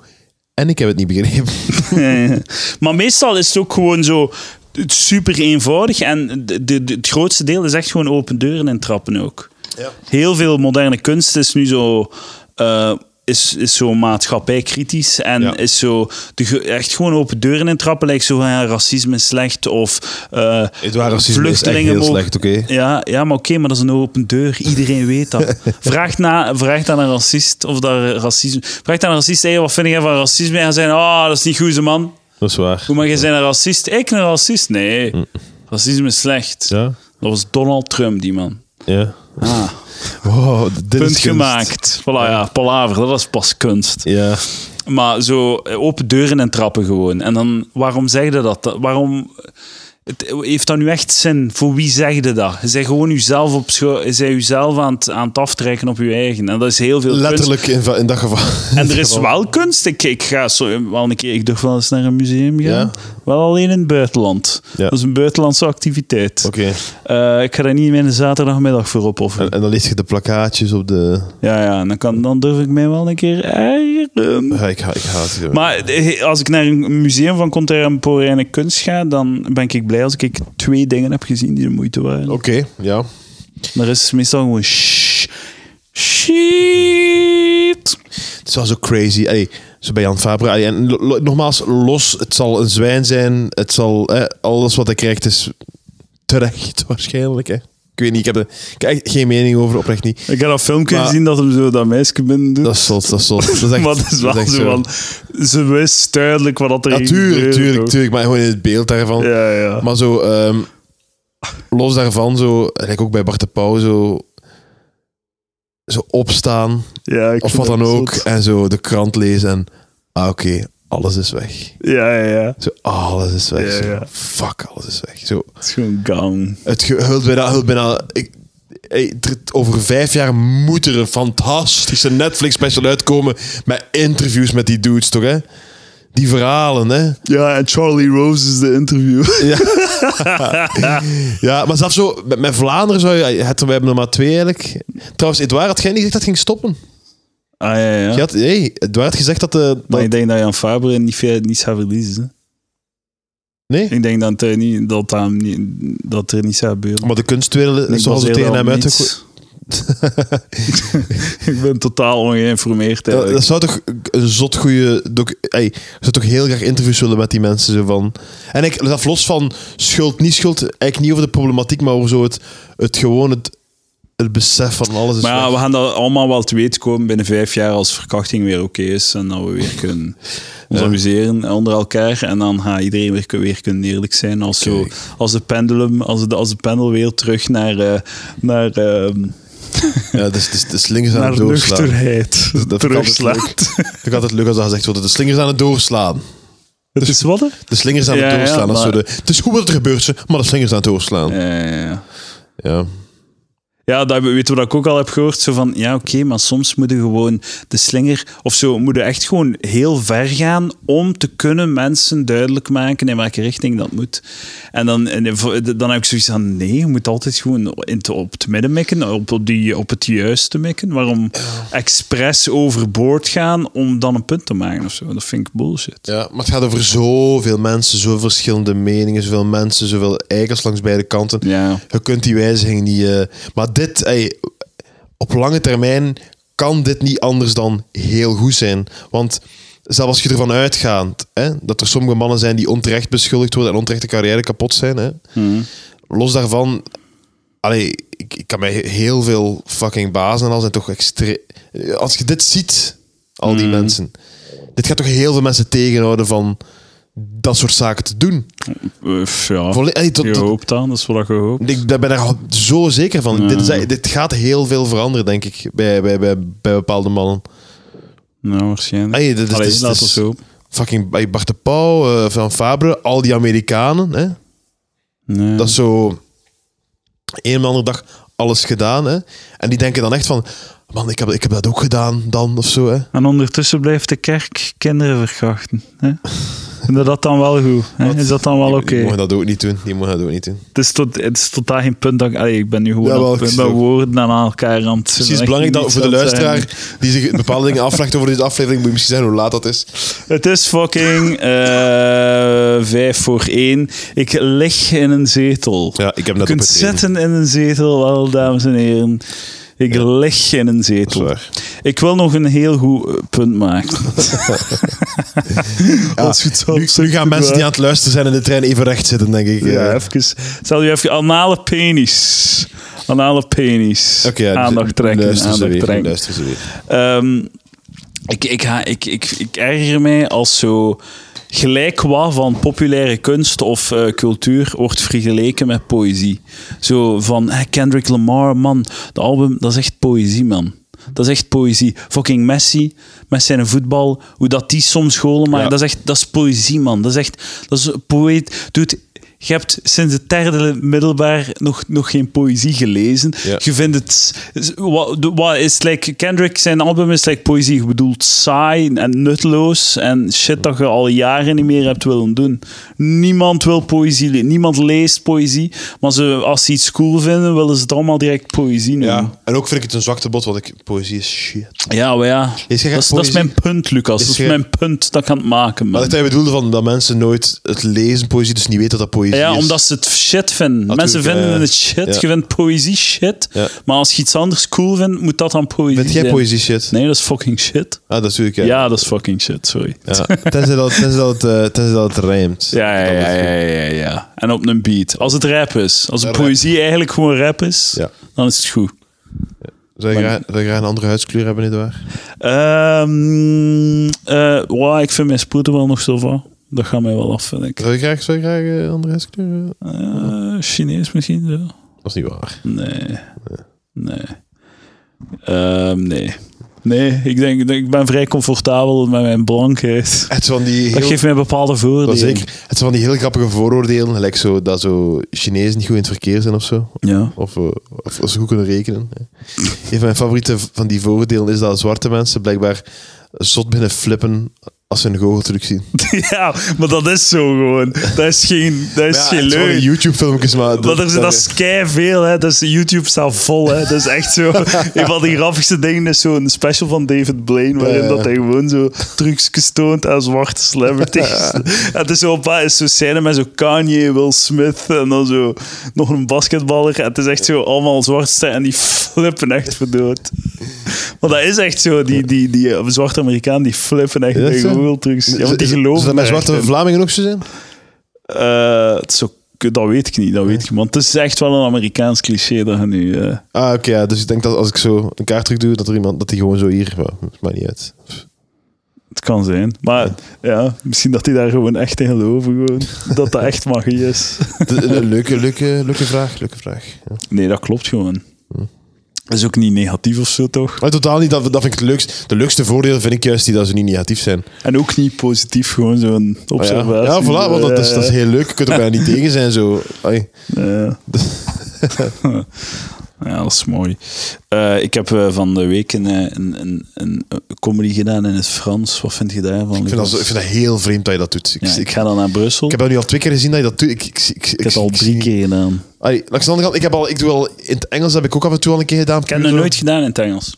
en ik heb het niet begrepen.
maar meestal is het ook gewoon zo super eenvoudig. En de, de, de- het grootste deel is echt gewoon open deuren en trappen ook. Heel veel moderne kunst is nu zo. eh, is, is zo maatschappijkritisch en
Ja.
is zo de, ge- echt gewoon open deuren in trappen. Lijkt zo van ja, racisme is slecht of eh
Edouard, racisme is echt heel
mogen-
slecht, oké?
ja, ja, maar oké, maar dat is een open deur. Iedereen weet dat. Vraag, na, vraag aan een racist of daar racisme. Vraag aan een racist: hey, wat vind jij van racisme? En hij zei: Oh, dat is niet goed, ze man.
Dat is waar.
Hoe mag je zijn een racist? Ik een racist? Nee. Racisme is slecht.
Mm. Ja.
Dat was Donald Trump, die man.
ja.
Ah,
Wow, dit is
punt
kunst.
gemaakt. Voilà, ja, palaver, dat was pas kunst.
Ja.
Maar zo eh, open deuren en trappen gewoon. En dan, waarom zeg je dat? Dat- Waarom... Het, heeft dat nu echt zin? Voor wie zeg je dat? Je bent gewoon jezelf, op scho- je bent jezelf aan, het, aan het aftrekken op je eigen. En dat is heel veel kunst.
Letterlijk in, va- in dat geval.
En er is wel kunst. Ik, ik ga zo wel een keer. Ik durf wel eens naar een museum gaan.
Ja.
Wel alleen in het buitenland.
Ja.
Dat is een buitenlandse activiteit.
Oké. Eh.
Eh, ik ga daar niet mijn zaterdagmiddag voor opofferen.
En, en dan lees je de plakkaatjes op de...
Ja, ja. en Dan, kan, dan durf ik mij wel een keer eieren.
Ja, ik, ha- ik haat het.
Maar eh, als ik naar een museum van contemporaine kunst ga, dan ben ik blij als ik twee dingen heb gezien die de moeite waren.
Oké, ja.
Maar er is meestal gewoon sh- shit.
Het is wel zo crazy. Allee, zo bij Jan Fabre. Allee, en lo- lo- nogmaals, los, het zal een zwijn zijn. Het zal, eh, alles wat hij krijgt is terecht waarschijnlijk. Hè. Ik weet niet, ik heb er ik heb echt geen mening over, oprecht niet.
Ik heb dat filmpje
Maar-
gezien dat hem zo dat meisje binnen doet.
Dat is zot, dat is zot. Dat is echt,
maar het is
dat
wel
echt
zo van... Ze wist duidelijk wat dat er ging
Natuurlijk,
gebeuren,
tuurlijk,
toch?
tuurlijk. Maar gewoon in het beeld daarvan.
Ja, ja.
Maar zo, ehm, los daarvan, zo, gelijk ook bij Bart de Pauw, zo, zo opstaan
ja, ik
of
vind
wat dan
dat
ook.
zot.
En zo de krant lezen en, ah oké, alles is weg.
Ja, ja, ja.
Zo, alles is weg.
Ja,
Zo,
ja.
Fuck, alles is weg. Zo,
Het is gewoon gang.
het ge- hult bijna... Hult bijna ik, hey, er- over vijf jaar moet er een fantastische Netflix-special uitkomen met interviews met die dudes, toch? Hè? Die verhalen, hè?
Ja, en Charlie Rose is de interview.
Ja, maar zelfs zo... Met, met Vlaanderen zou je... Het, we hebben er maar twee, eigenlijk. Trouwens, Edouard had jij niet gezegd dat het ging stoppen.
Ah, ja, ja.
Je had, hey, Edouard had gezegd dat... de
Maar
dat-
ik denk dat Jan Faber niet veel, niets gaat verliezen.
nee?
hè. Ik denk dat, hij niet, dat, hij hem niet, dat er niets gaat gebeuren.
Maar de kunstwereld
Ik
is zoals het
baseer
tegen
dat
hem uit...
op niets. ik ben totaal ongeïnformeerd.
Ja,
eigenlijk.
dat zou toch een zot goede. Hey, ik zou toch heel graag interviews willen met die mensen. Zo van. En ik dat los van schuld, niet schuld. Eigenlijk niet over de problematiek, maar over zo het, het gewoon het, het besef van alles. Is
Maar ja,
weg.
we gaan dat allemaal wel te weten komen binnen vijf jaar als verkrachting weer oké is. En dat we weer kunnen ons amuseren onder elkaar. En dan gaat iedereen weer, weer kunnen eerlijk zijn. Als, zo,
Kijk.
als de pendulum, als de, als de pendel weer terug naar, eh, naar, ehm,
ja, dus, dus de slingers aan
naar
het doorslaan.
nuchterheid
Dat vind ik altijd
terugslaat.
Vind Ik had het leuk als dat gezegd wordt. De slingers aan het doorslaan.
Het is wat? hè?
De slingers aan het
Ja, ja,
doorslaan. dat is
maar-
zo de, het is goed wat er gebeurt, ze, maar de slingers aan het doorslaan. Ja.
Ja, ja, ja. Ja, dat weet je wat ik ook al heb gehoord. Zo van, ja, oké, maar soms moet je gewoon de slinger... Of zo, moet je echt gewoon heel ver gaan om te kunnen mensen duidelijk maken in welke richting dat moet. En dan, en voor- dan heb ik zoiets van, nee, je moet altijd gewoon in het, op het midden mikken, op, op die, op het juiste mikken. Waarom expres overboord gaan om dan een punt te maken of zo? Dat vind ik bullshit.
Ja, maar het gaat over zoveel mensen, zoveel verschillende meningen, zoveel mensen, zoveel eikers langs beide kanten.
Ja.
Je kunt die wijziging niet. eh, maar dit, ey, op lange termijn kan dit niet anders dan heel goed zijn. Want zelfs als je ervan uitgaat hè, dat er sommige mannen zijn die onterecht beschuldigd worden en onterechte carrière kapot zijn, hè, los daarvan, allee, ik, ik kan mij heel veel fucking bazen en al zijn toch extreem. Als je dit ziet, al die mensen. Dit gaat toch heel veel mensen tegenhouden van dat soort zaken te doen.
Uf, ja.
Volle- en tot-
Je
tot-
hoopt aan, dat is wat je hoopt.
ik daar ben er zo zeker van.
Ja.
Dit, is- dit gaat heel veel veranderen, denk ik, bij, bij, bij, bij bepaalde mannen.
Nou, waarschijnlijk.
Hey, dit is,
Allee,
dit is-
laat
dit dus is
ons hopen.
Fucking bij Bart de Pauw, eh, Van Fabre, al die Amerikanen. Hè?
Nee.
Dat is zo... Een of andere dag alles gedaan. Hè? En die denken dan echt van... Man, ik heb, ik heb dat ook gedaan dan, of zo. Hè?
En ondertussen blijft de kerk kinderen verkrachten. Hè? Vind je dat dan wel goed? Hè? Is dat dan wel
Die-
oké?
Die mogen dat ook niet doen. Die mogen dat ook niet doen.
Het, is tot, het is totaal geen punt dat ik... Allee, ik ben nu gewoon
Ja, wel,
op-
ik
met
snap.
woorden aan elkaar aan het...
Precies
echt
belangrijk dat
niet
voor de
zou zijn.
luisteraar die zich bepaalde dingen afvraagt over deze aflevering, moet je misschien zeggen hoe laat dat is.
Het is fucking eh, vijf voor één. Ik lig in een zetel.
Ja, ik heb
Je
net op
kunt
het één.
zitten in een zetel, wel, dames en heren. Ik lig in een
Dat is
zetel.
waar.
Ik wil nog een heel goed eh, punt maken.
Ja,
Als je het zo
nu, nu gaan mensen die aan het luisteren zijn in de trein even recht zitten, denk ik. Eh,
Ja,
Oké,
even. Stel je even anale penis. Anale penis.
ja, dus
aandacht trekken.
Luister ze
aandacht
weer.
trekken.
Luister ze weer.
Ehm, ik, ik, ha- ik, ik, ik erger mij als zo gelijk wat van populaire kunst of eh, cultuur wordt vergeleken met poëzie. Zo van eh, Kendrick Lamar, man, de album, dat is echt poëzie, man. Dat is echt poëzie. Fucking Messi met zijn voetbal, hoe dat die soms golen maar
Ja.
Dat is echt dat is poëzie, man. Dat is echt dat is een poëet. Doet, je hebt sinds het derde middelbaar nog, nog geen poëzie gelezen.
Ja.
Je vindt het. is- wa- de- wa- is like Kendrick, zijn album is like poëzie. Je bedoelt saai en nutteloos. En shit dat je al jaren niet meer hebt willen doen. Niemand wil poëzie lezen. Niemand leest poëzie. Maar ze, als ze iets cool vinden, willen ze het allemaal direct poëzie noemen. Ja,
Ja, Mm. en ook vind ik het een zwakte bot, want ik, poëzie is shit.
maar ja. Dat,
Is je
is,
echt
dat is
poëzie?
mijn punt, Lucas.
Is
Dat
je-
is mijn punt dat ik aan het maken ben.
Maar dat hij bedoelde van dat mensen nooit het lezen poëzie, dus niet weten dat dat poëzie
Ja,
is.
omdat ze het shit vinden. Mensen
tuurlijk,
vinden
ja, ja.
het shit.
Ja.
Je vindt poëzie shit.
Ja.
Maar als je iets anders cool vindt, moet dat dan poëzie
Vind jij
zijn.
poëzie shit?
Nee, dat is fucking shit.
Ah, dat is natuurlijk.
Ja,
Ja. Ja.
dat is fucking shit, sorry.
Tenzij, dat, tenzij, dat, eh, tenzij dat het rijmt.
Ja, ja, ja, ja, ja, ja. En op een beat. Als het rap is. Als een
Ja,
poëzie eigenlijk gewoon rap is,
Ja.
dan is het goed.
Zou je, graag, zou je graag een andere huidskleur hebben, nietwaar?
Ehm eh, wauw, ik vind mijn sproeten wel nog zo van. Dat gaat mij wel af, vind ik.
Zou je graag, zou je graag eh, een andere huidskleur hebben?
Eh, Chinees misschien, zo.
Dat is niet waar.
Nee. Nee. Ehm, nee. Nee, ik denk, ik ben vrij comfortabel met mijn blankheid.
Het is van die
Dat
heel
geeft mij bepaalde voordelen.
Dat zeker. Het zijn van die heel grappige vooroordelen, gelijk zo, dat zo Chinezen niet goed in het verkeer zijn of zo.
Ja.
Of, eh, of ze goed kunnen rekenen. hè. Een van mijn favoriete van die vooroordelen is dat zwarte mensen blijkbaar zot binnen flippen als ze een goocheltruc zien.
ja, maar dat is zo gewoon. Dat is geen, dat is geen leuk.
YouTube-filmpjes, maar...
Maar er, dat is kei veel, hè. Dus YouTube staat vol, hè. Dat is echt zo... een van de grappigste dingen is zo'n special van David Blaine, waarin
Ja.
dat hij gewoon zo trucjes toont aan zwarte celebrities. En het is zo een paar is zo scène met zo Kanye, Will Smith en dan zo nog een basketballer. En het is echt zo allemaal zwartste en die flippen echt verdood. Want dat is echt zo, die, die, die, eh, zwarte Amerikaan, die flippen echt
Is dat
tegen
zo?
Google trucs. Ja, want die geloven
Zullen dat met
daar echt
zwarte
in.
Vlamingen ook zo zijn?
Eh, het is ook, dat weet ik niet, dat weet ik. niet. Want het is echt wel een Amerikaans cliché dat je nu. eh,
Ah, oké, ja. Dus ik denk dat als ik zo een kaart terug doe, dat er iemand, dat die gewoon zo hier... Well, maakt niet uit.
het kan zijn. Maar ja. misschien dat die daar gewoon echt in geloven. Gewoon. Dat dat echt magie is.
De- een leuke, leuke, leuke vraag, leuke vraag. Ja.
Nee, dat klopt gewoon.
Hm.
Dat is ook niet negatief of zo, toch?
Maar totaal niet, dat, dat vind ik het leukst. De leukste voordeel vind ik juist die dat ze niet negatief zijn.
En ook niet positief, gewoon zo'n
Ah, Ja,
observatie. Eh,
ja, voilà, want dat is, dat is heel leuk. Je kunt er bijna niet tegen zijn. Zo. Ai.
Ja. ja, dat is mooi. Eh, ik heb eh, van de week een, eh, een, een, een comedy gedaan in het Frans. Wat vind je daarvan?
Ik, vind dat, zo- ik vind dat heel vreemd dat je dat doet. Ik,
Ja,
ik,
ik
ik
ga dan naar Brussel.
heb dat nu al twee keer gezien dat je dat doet. Ik, ik, ik,
ik heb het al drie keer gedaan.
Ai, langs de andere kant, ik, heb al, ik doe al, in het Engels heb ik ook af en toe al een keer gedaan.
Ik heb het nog nooit gedaan in het Engels.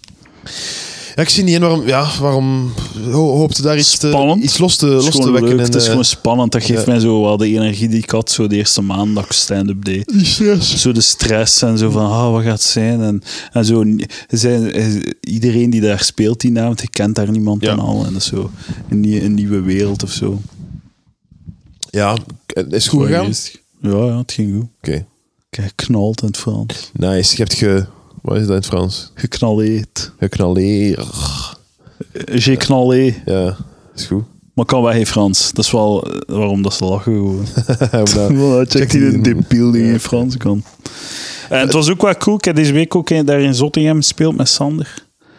Ja, ik zie niet in waarom, ja, waarom ho- hoopte daar iets, te,
Spannend.
iets los te,
Het
los
is
te
gewoon
wekken.
leuk,
en,
het is
eh,
gewoon spannend. Dat geeft
ja.
mij zo wel de energie die ik had zo de eerste maand dat ik stand-up deed.
die stress.
Zo de stress en zo van, ah, wat gaat het zijn? En, en zo, zijn, eh, iedereen die daar speelt die naam, je kent daar niemand
Ja.
en al. En dat is zo een, nie- een nieuwe wereld of zo.
Ja, is het goed
Wat
gegaan? Oké.
geest. Ja, ja, het ging goed. Geknald in het Frans.
Nice. Je hebt ge... Wat is dat in het Frans?
Geknalleerd.
Geknalleer. Eh,
J'ai knallé.
Ja, is goed.
Maar kan wij geen Frans. Dat is wel eh, waarom dat ze lachen gewoon.
Voilà.
Voilà, check die
die-
de debiel die
Ja.
in Frans kan. En Eh, het was ook wel cool. Ik heb deze week ook een- daar in Zottingham gespeeld met Sander.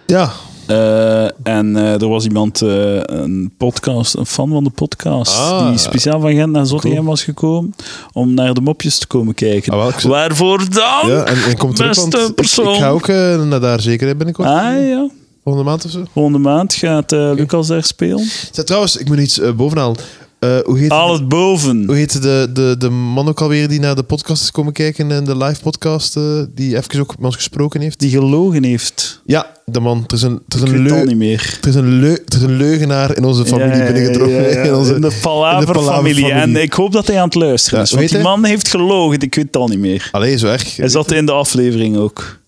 ja.
Eh, en eh, er was iemand, eh, een podcast, een fan van de podcast,
Ah.
die speciaal van Gent naar Zottingham was gekomen om naar de mopjes te komen kijken.
Ah, wel, ik-
Waarvoor dan?
ja, en, en komt terug,
Beste
want ik,
persoon.
ik ga ook eh, naar daar zeker hè, binnenkort.
Ah ja,
Volgende maand of zo.
volgende maand gaat eh, Lucas daar spelen.
Zeg, trouwens, ik moet iets eh, bovenaan. Eh, hoe heet
Al het boven.
Hoe heette de, de, de man ook alweer die naar de podcast is komen kijken en de live podcast eh, die even ook met ons gesproken heeft?
Die gelogen heeft.
Ja, de man. Er is een, er is
Ik
een,
weet het al
leu-
niet meer.
er is een, leu- er is een leugenaar in onze familie
Ja, ja,
binnengetrokken.
ja, ja.
In onze-
In de palaverfamilie. En
palaverfamilie.
ik hoop dat hij aan het luisteren
Ja,
is.
hoe
Want die
heet
man heeft gelogen, ik weet het al niet meer.
Allee, zo erg.
Hij zat in de aflevering ook.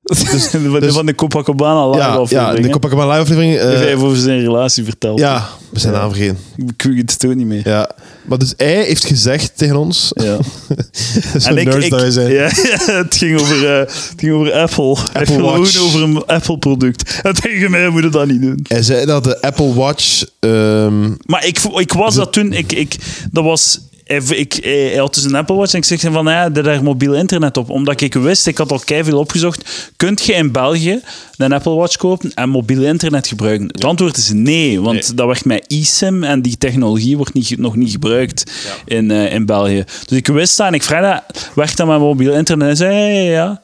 van, de-
dus-
van de Copacabana live
ja, ja,
aflevering.
de
hè.
Copacabana live aflevering. eh,
Heeft hij heeft over zijn relatie verteld.
ja, we zijn naam vergeten.
Ik weet het ook niet meer.
Ja. Maar dus hij heeft gezegd tegen ons...
Ja.
Zo'n nerds dat wij zijn.
ja, het, ging over, eh, het ging over Apple. Hij
Apple
verloog
Watch.
over een Apple-product. En tegen mij moet je dat niet doen.
Hij zei dat de Apple Watch... ehm,
Maar ik, vo- ik was dat toen... Ik, ik, dat was... hij v- Ik, hij hij had dus een Apple Watch en ik zeg van "Ah ja, daar daar mobiel internet op. Omdat ik wist, ik had al veel opgezocht. Kunt je in België een Apple Watch kopen en mobiel internet gebruiken? Het antwoord is nee, want dat werkt met eSIM en die technologie wordt niet, ge- nog niet gebruikt in, eh, in België. Dus ik wist dat en ik vraagde, werkt dat met mobiel internet? Hij zei ja, ja, ja.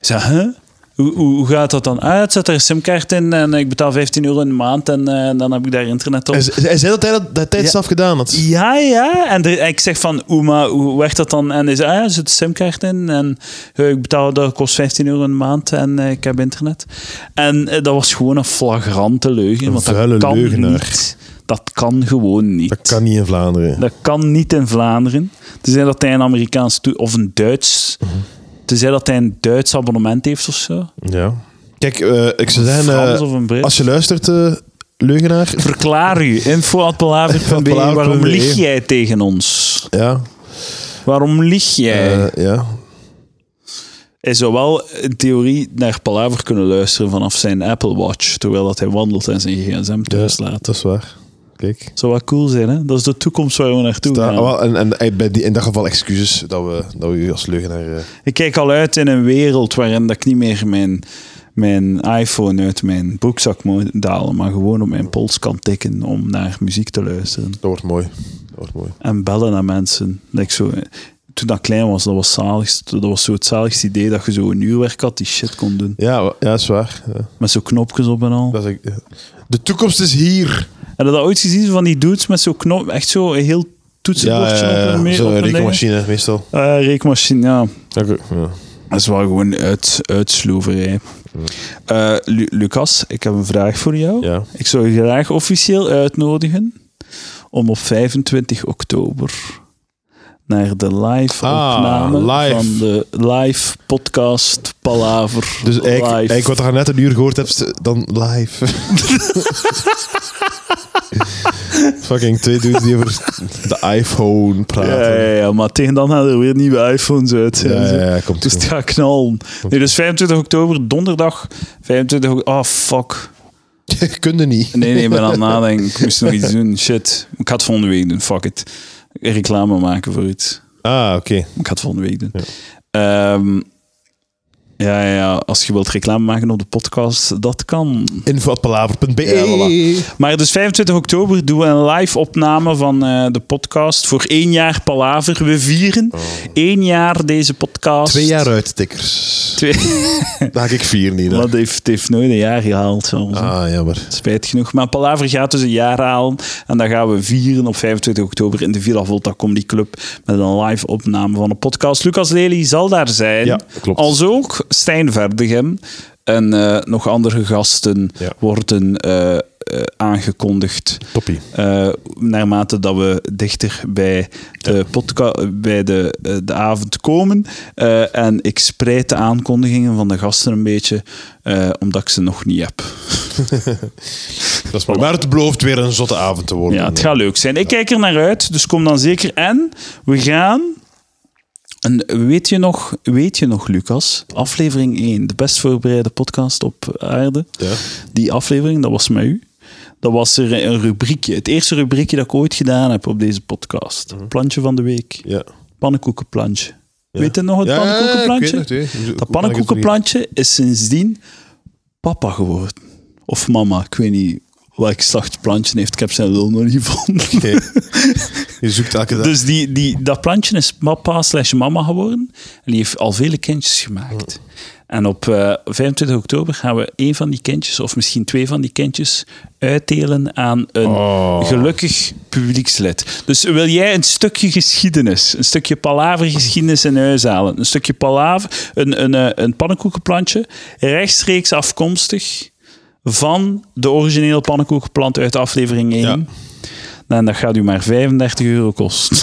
Ik zei, huh? Hoe, hoe, hoe gaat dat dan? Ah, het zet er een simkaart in en ik betaal 15 euro in de maand en eh, dan heb ik daar internet op.
hij, ze- hij zei dat hij dat, dat tijd
Ja.
zelf gedaan had.
Ja, ja. En, er- en ik zeg van, oeh, maar hoe werkt dat dan? En hij zei, ah, ja, er zit een simkaart in. En eh, ik betaal, dat kost 15 euro een maand en eh, ik heb internet. En eh, dat was gewoon een flagrante leugen. want
vuile
dat kan
leugenaar.
niet. Dat kan gewoon niet.
Dat kan niet in Vlaanderen.
Dat kan niet in Vlaanderen. Tenzij dat hij een Amerikaans toe- of een Duits...
Mhm.
Tenzij dat hij een Duits abonnement heeft of zo.
Ja. Kijk, eh, ik zou zeggen, eh,
Frans of een Brit.
als je luistert, eh, leugenaar,
Verklaar u. Info.palaver.be. E,
E.
Waarom lieg jij tegen ons?
ja,
Waarom lieg jij?
eh, ja,
Hij zou wel in theorie naar Palaver kunnen luisteren vanaf zijn Apple Watch, terwijl dat hij wandelt en zijn gsm thuis laat.
dat is waar. Kijk.
Zou wel cool zijn, hè? Dat is de toekomst waar we naartoe
Daar,
gaan.
wel, en en eh, bij die, in dat geval excuses dat we, dat we u als leugenaar... eh,
Ik kijk al uit in een wereld waarin dat ik niet meer mijn, mijn iPhone uit mijn broekzak moet dalen, maar gewoon op mijn pols kan tikken om naar muziek te luisteren.
dat wordt mooi. Dat wordt mooi.
En bellen naar mensen. Dat ik zo, toen dat klein was, dat was, zalig, dat was zo het zaligste idee dat je zo een uurwerk had die shit kon doen.
Ja, wa- ja, dat is waar. Ja,
Met zo knopjes op en al.
dat is, ik- ja. De toekomst is hier.
Heb je dat ooit gezien van die dudes met zo'n knop? Echt zo een heel
Ja,
toetsenbordje op
ja,
en
ja.
meer.
zo'n
op een ding?
rekenmachine meestal.
Eh, rekenmachine, ja.
Oké. Ja.
Dat is wel gewoon uit, uitsloverij. Eh, Lu- Lucas, ik heb een vraag voor jou.
Ja.
Ik zou je graag officieel uitnodigen om op 25 oktober naar de live
Ah,
opname
live.
van de live podcast Palaver
Dus eigenlijk,
live.
eigenlijk wat je net een uur gehoord hebt, dan live. Fucking twee dudes die over de iPhone praten.
ja, ja, ja, maar tegen dan gaan er weer nieuwe iPhones uit.
Ja,
en zo.
ja, ja, komt
Dus
goed.
het gaat knallen. Nee, dus 25 oktober, donderdag. 25 oktober. Ah, fuck.
Je kunt er niet.
Nee, nee, ik ben aan het nadenken. Ik moest nog iets doen. Shit. Ik ga het volgende week doen. Fuck it. Reclame maken voor iets.
Ah, oké.
Ik ga het volgende week doen. Ehm, ja, ja, ja. Als je wilt reclame maken op de podcast, dat kan.
Info.palaver.be
Ja, voilà. Maar dus 25 oktober doen we een live opname van eh, de podcast voor één jaar Palaver. We vieren één jaar deze podcast.
Twee jaar uit, tikkers.
Twee-
Daar ga ik vier niet. hè.
Maar het heeft, het heeft nooit een jaar gehaald. zelfs, hè.
Ah, jammer.
Spijt genoeg. Maar Palaver gaat dus een jaar halen. En dat gaan we vieren op 25 oktober in de Villa Volta Comedy Club. Met een live opname van een podcast. Lucas Lely zal daar zijn.
Ja, klopt.
Als ook Stijn Verdegem. En eh, nog andere gasten
Ja.
worden eh, eh, aangekondigd.
Toppie.
Eh, naarmate dat we dichter bij de, podca- bij de, eh, de avond komen. Eh, en ik spreid de aankondigingen van de gasten een beetje, eh, omdat ik ze nog niet heb.
Dat is mooi. Maar het belooft weer een zotte avond te worden.
Ja, het gaat leuk zijn. Ik kijk er naar uit, dus kom dan zeker. En we gaan En weet je nog, weet je nog Lucas, aflevering 1, de best voorbereide podcast op aarde.
Ja.
Die aflevering, dat was met u. Dat was er een rubriekje, het eerste rubriekje dat ik ooit gedaan heb op deze podcast. Plantje van de week,
Ja.
pannenkoekenplantje.
Mhm. Ja.
Weet je nog het
Ja,
pannenkoekenplantje?
ik weet het nog, hè. Hoe- hoe
dat
kan ik het
pannenkoekenplantje is sindsdien papa geworden. Of mama, ik weet niet welk slag het plantje heeft. Ik heb zijn lul nog niet gevonden.
Oké. Je zoekt elke dag.
Dus die, die, dat plantje is papa slash mama geworden. En die heeft al vele kindjes gemaakt. En op eh, 25 oktober gaan we één van die kindjes, of misschien twee van die kindjes, uitdelen aan een
Oh.
gelukkig publiekslid. Dus wil jij een stukje geschiedenis, een stukje palavergeschiedenis in huis halen, een stukje palaver, een, een, eh, een pannenkoekenplantje, rechtstreeks afkomstig van de originele pannenkoekenplant uit aflevering 1.
Ja.
En dat gaat u maar 35 euro kosten.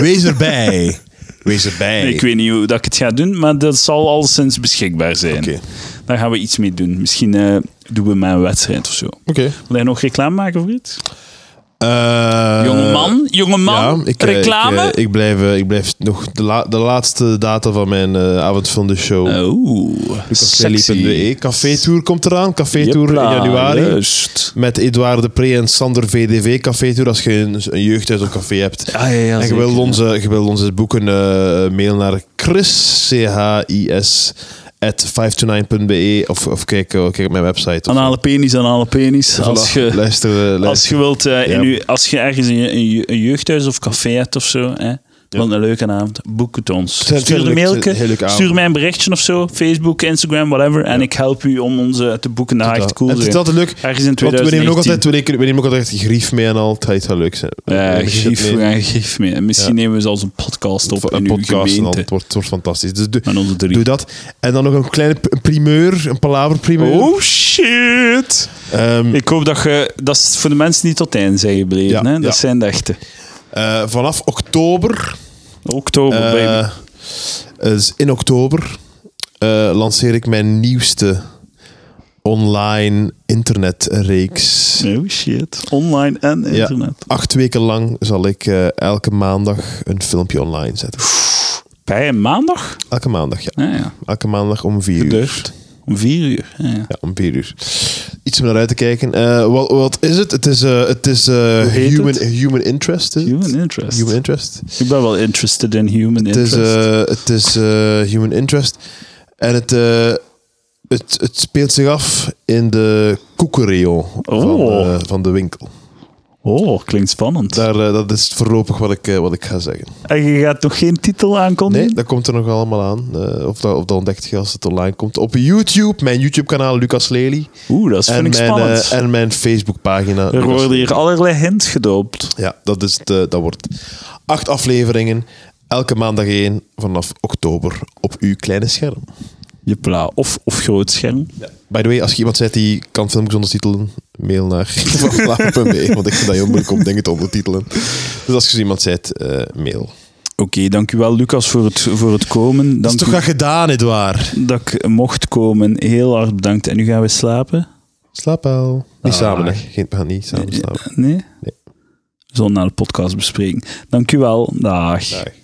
Wees erbij. Wees erbij.
Ik weet niet hoe dat ik het ga doen, maar dat zal alleszins beschikbaar zijn.
Oké.
Daar gaan we iets mee doen. Misschien eh, doen we maar een wedstrijd of zo.
Oké.
Wil jij nog reclame maken voor iets?
Eh,
jongeman, jongeman,
Ja, ik, eh,
reclame?
Ik, eh, ik, blijf, eh, ik blijf nog de, la- de laatste data van mijn eh, avond van de show.
oh, sexy.
Café Café Tour komt eraan. Café Tour in
Jepla,
januari.
Juist.
Met Edouard de Pre en Sander VDV Café Tour. Als je een, een jeugdhuis of café hebt.
Ah, ja, ja,
en je
zeker.
wil, onze, je wil onze boeken eh, mail naar chris, C-H-I-S, at 529.be of, of kijk, eh, kijk op mijn website. of zo.
Anale penis, anale penis.
Voilà,
Als je,
luister, eh, luister.
als je wilt, eh, in
Ja.
uw- als je ergens in je- in je- een jeugdhuis of café hebt of zo, hè, wat een leuke avond, boek het ons.
zijn
Stuur een
hele-
mailke,
hele leuke
stuur
avonden.
mij een berichtje of zo, Facebook, Instagram, whatever, en ik help u om ons eh, te boeken. Dat gaat echt cool
En het is
zijn.
altijd leuk.
Ergens in
Want we nemen ook
2019.
altijd, we nemen, we nemen ook altijd grief mee en al. Het gaat- het gaat leuk zijn.
Ja,
We nemen shit
geef,
mee.
ja, geef mee. En misschien nemen we zelfs een podcast op
een
in uw
podcast en al.
gemeente.
Het wordt, het wordt fantastisch. Dus doe,
Met onze drie.
doe dat. En dan nog een kleine p- een primeur, een Ehm, palaver primeur.
Oh shit! Ik hoop dat je... Dat is voor de mensen die tot het einde zijn gebleven.
Ja,
hè? Dat
ja.
zijn de echte.
eh, vanaf oktober,
Oktober, baby.
eh, dus in oktober, eh, lanceer ik mijn nieuwste online internetreeks.
Oh shit. Online en
Ja,
internet.
acht weken lang zal ik eh, elke maandag een filmpje online zetten.
Bij een maandag?
Elke maandag, ja.
Ja, ja.
Elke maandag om vier uur.
Gedurfd. Om vier uur. Ja, ja.
Ja, om vier uur. Iets om naar uit te kijken. Eh, wat, wat is het? Het is, eh, het is eh,
heet
human,
het?
human Interest. is het?
Human interest.
Human Interest.
Ik ben wel interested in human
Het is,
interest.
eh, het is eh, Human Interest. En het, eh, het, het speelt zich af in de koekenrayon van,
Oh.
eh, van de winkel.
oh, klinkt spannend.
Daar, eh, dat is voorlopig wat ik, eh, wat ik ga zeggen.
En je gaat nog geen titel aankondigen?
Nee, dat komt er nog allemaal aan. Eh, of, dat, of dat ontdekt je als het online komt. Op YouTube, mijn YouTube-kanaal Lucas Lely.
Oeh, dat vind
En
ik
mijn,
spannend.
eh, en mijn Facebookpagina.
er
Lucas
worden
Lely.
hier allerlei hints gedoopt.
Ja, dat, is de, dat wordt acht afleveringen. Elke maandag één vanaf oktober op uw kleine scherm.
Jepla, of, of groot scherm.
By the way, als je iemand zegt die kan filmpjes ondertitelen, mail naar vanlaag.be, want ik vind dat heel moeilijk om dingen te ondertitelen. Dus als je zo iemand zegt, eh, mail.
Oké, dankjewel Lucas voor het, voor het komen.
Dat is
Dank
toch
u
graag gedaan, Edouard?
dat ik mocht komen. Heel hard bedankt. En nu gaan we slapen?
Slaap wel. Niet
Ah.
samen, hè. Geen, we gaan niet samen slapen.
Nee?
Nee.
We zullen naar de podcast bespreken. Dankjewel. Dag.
Dag.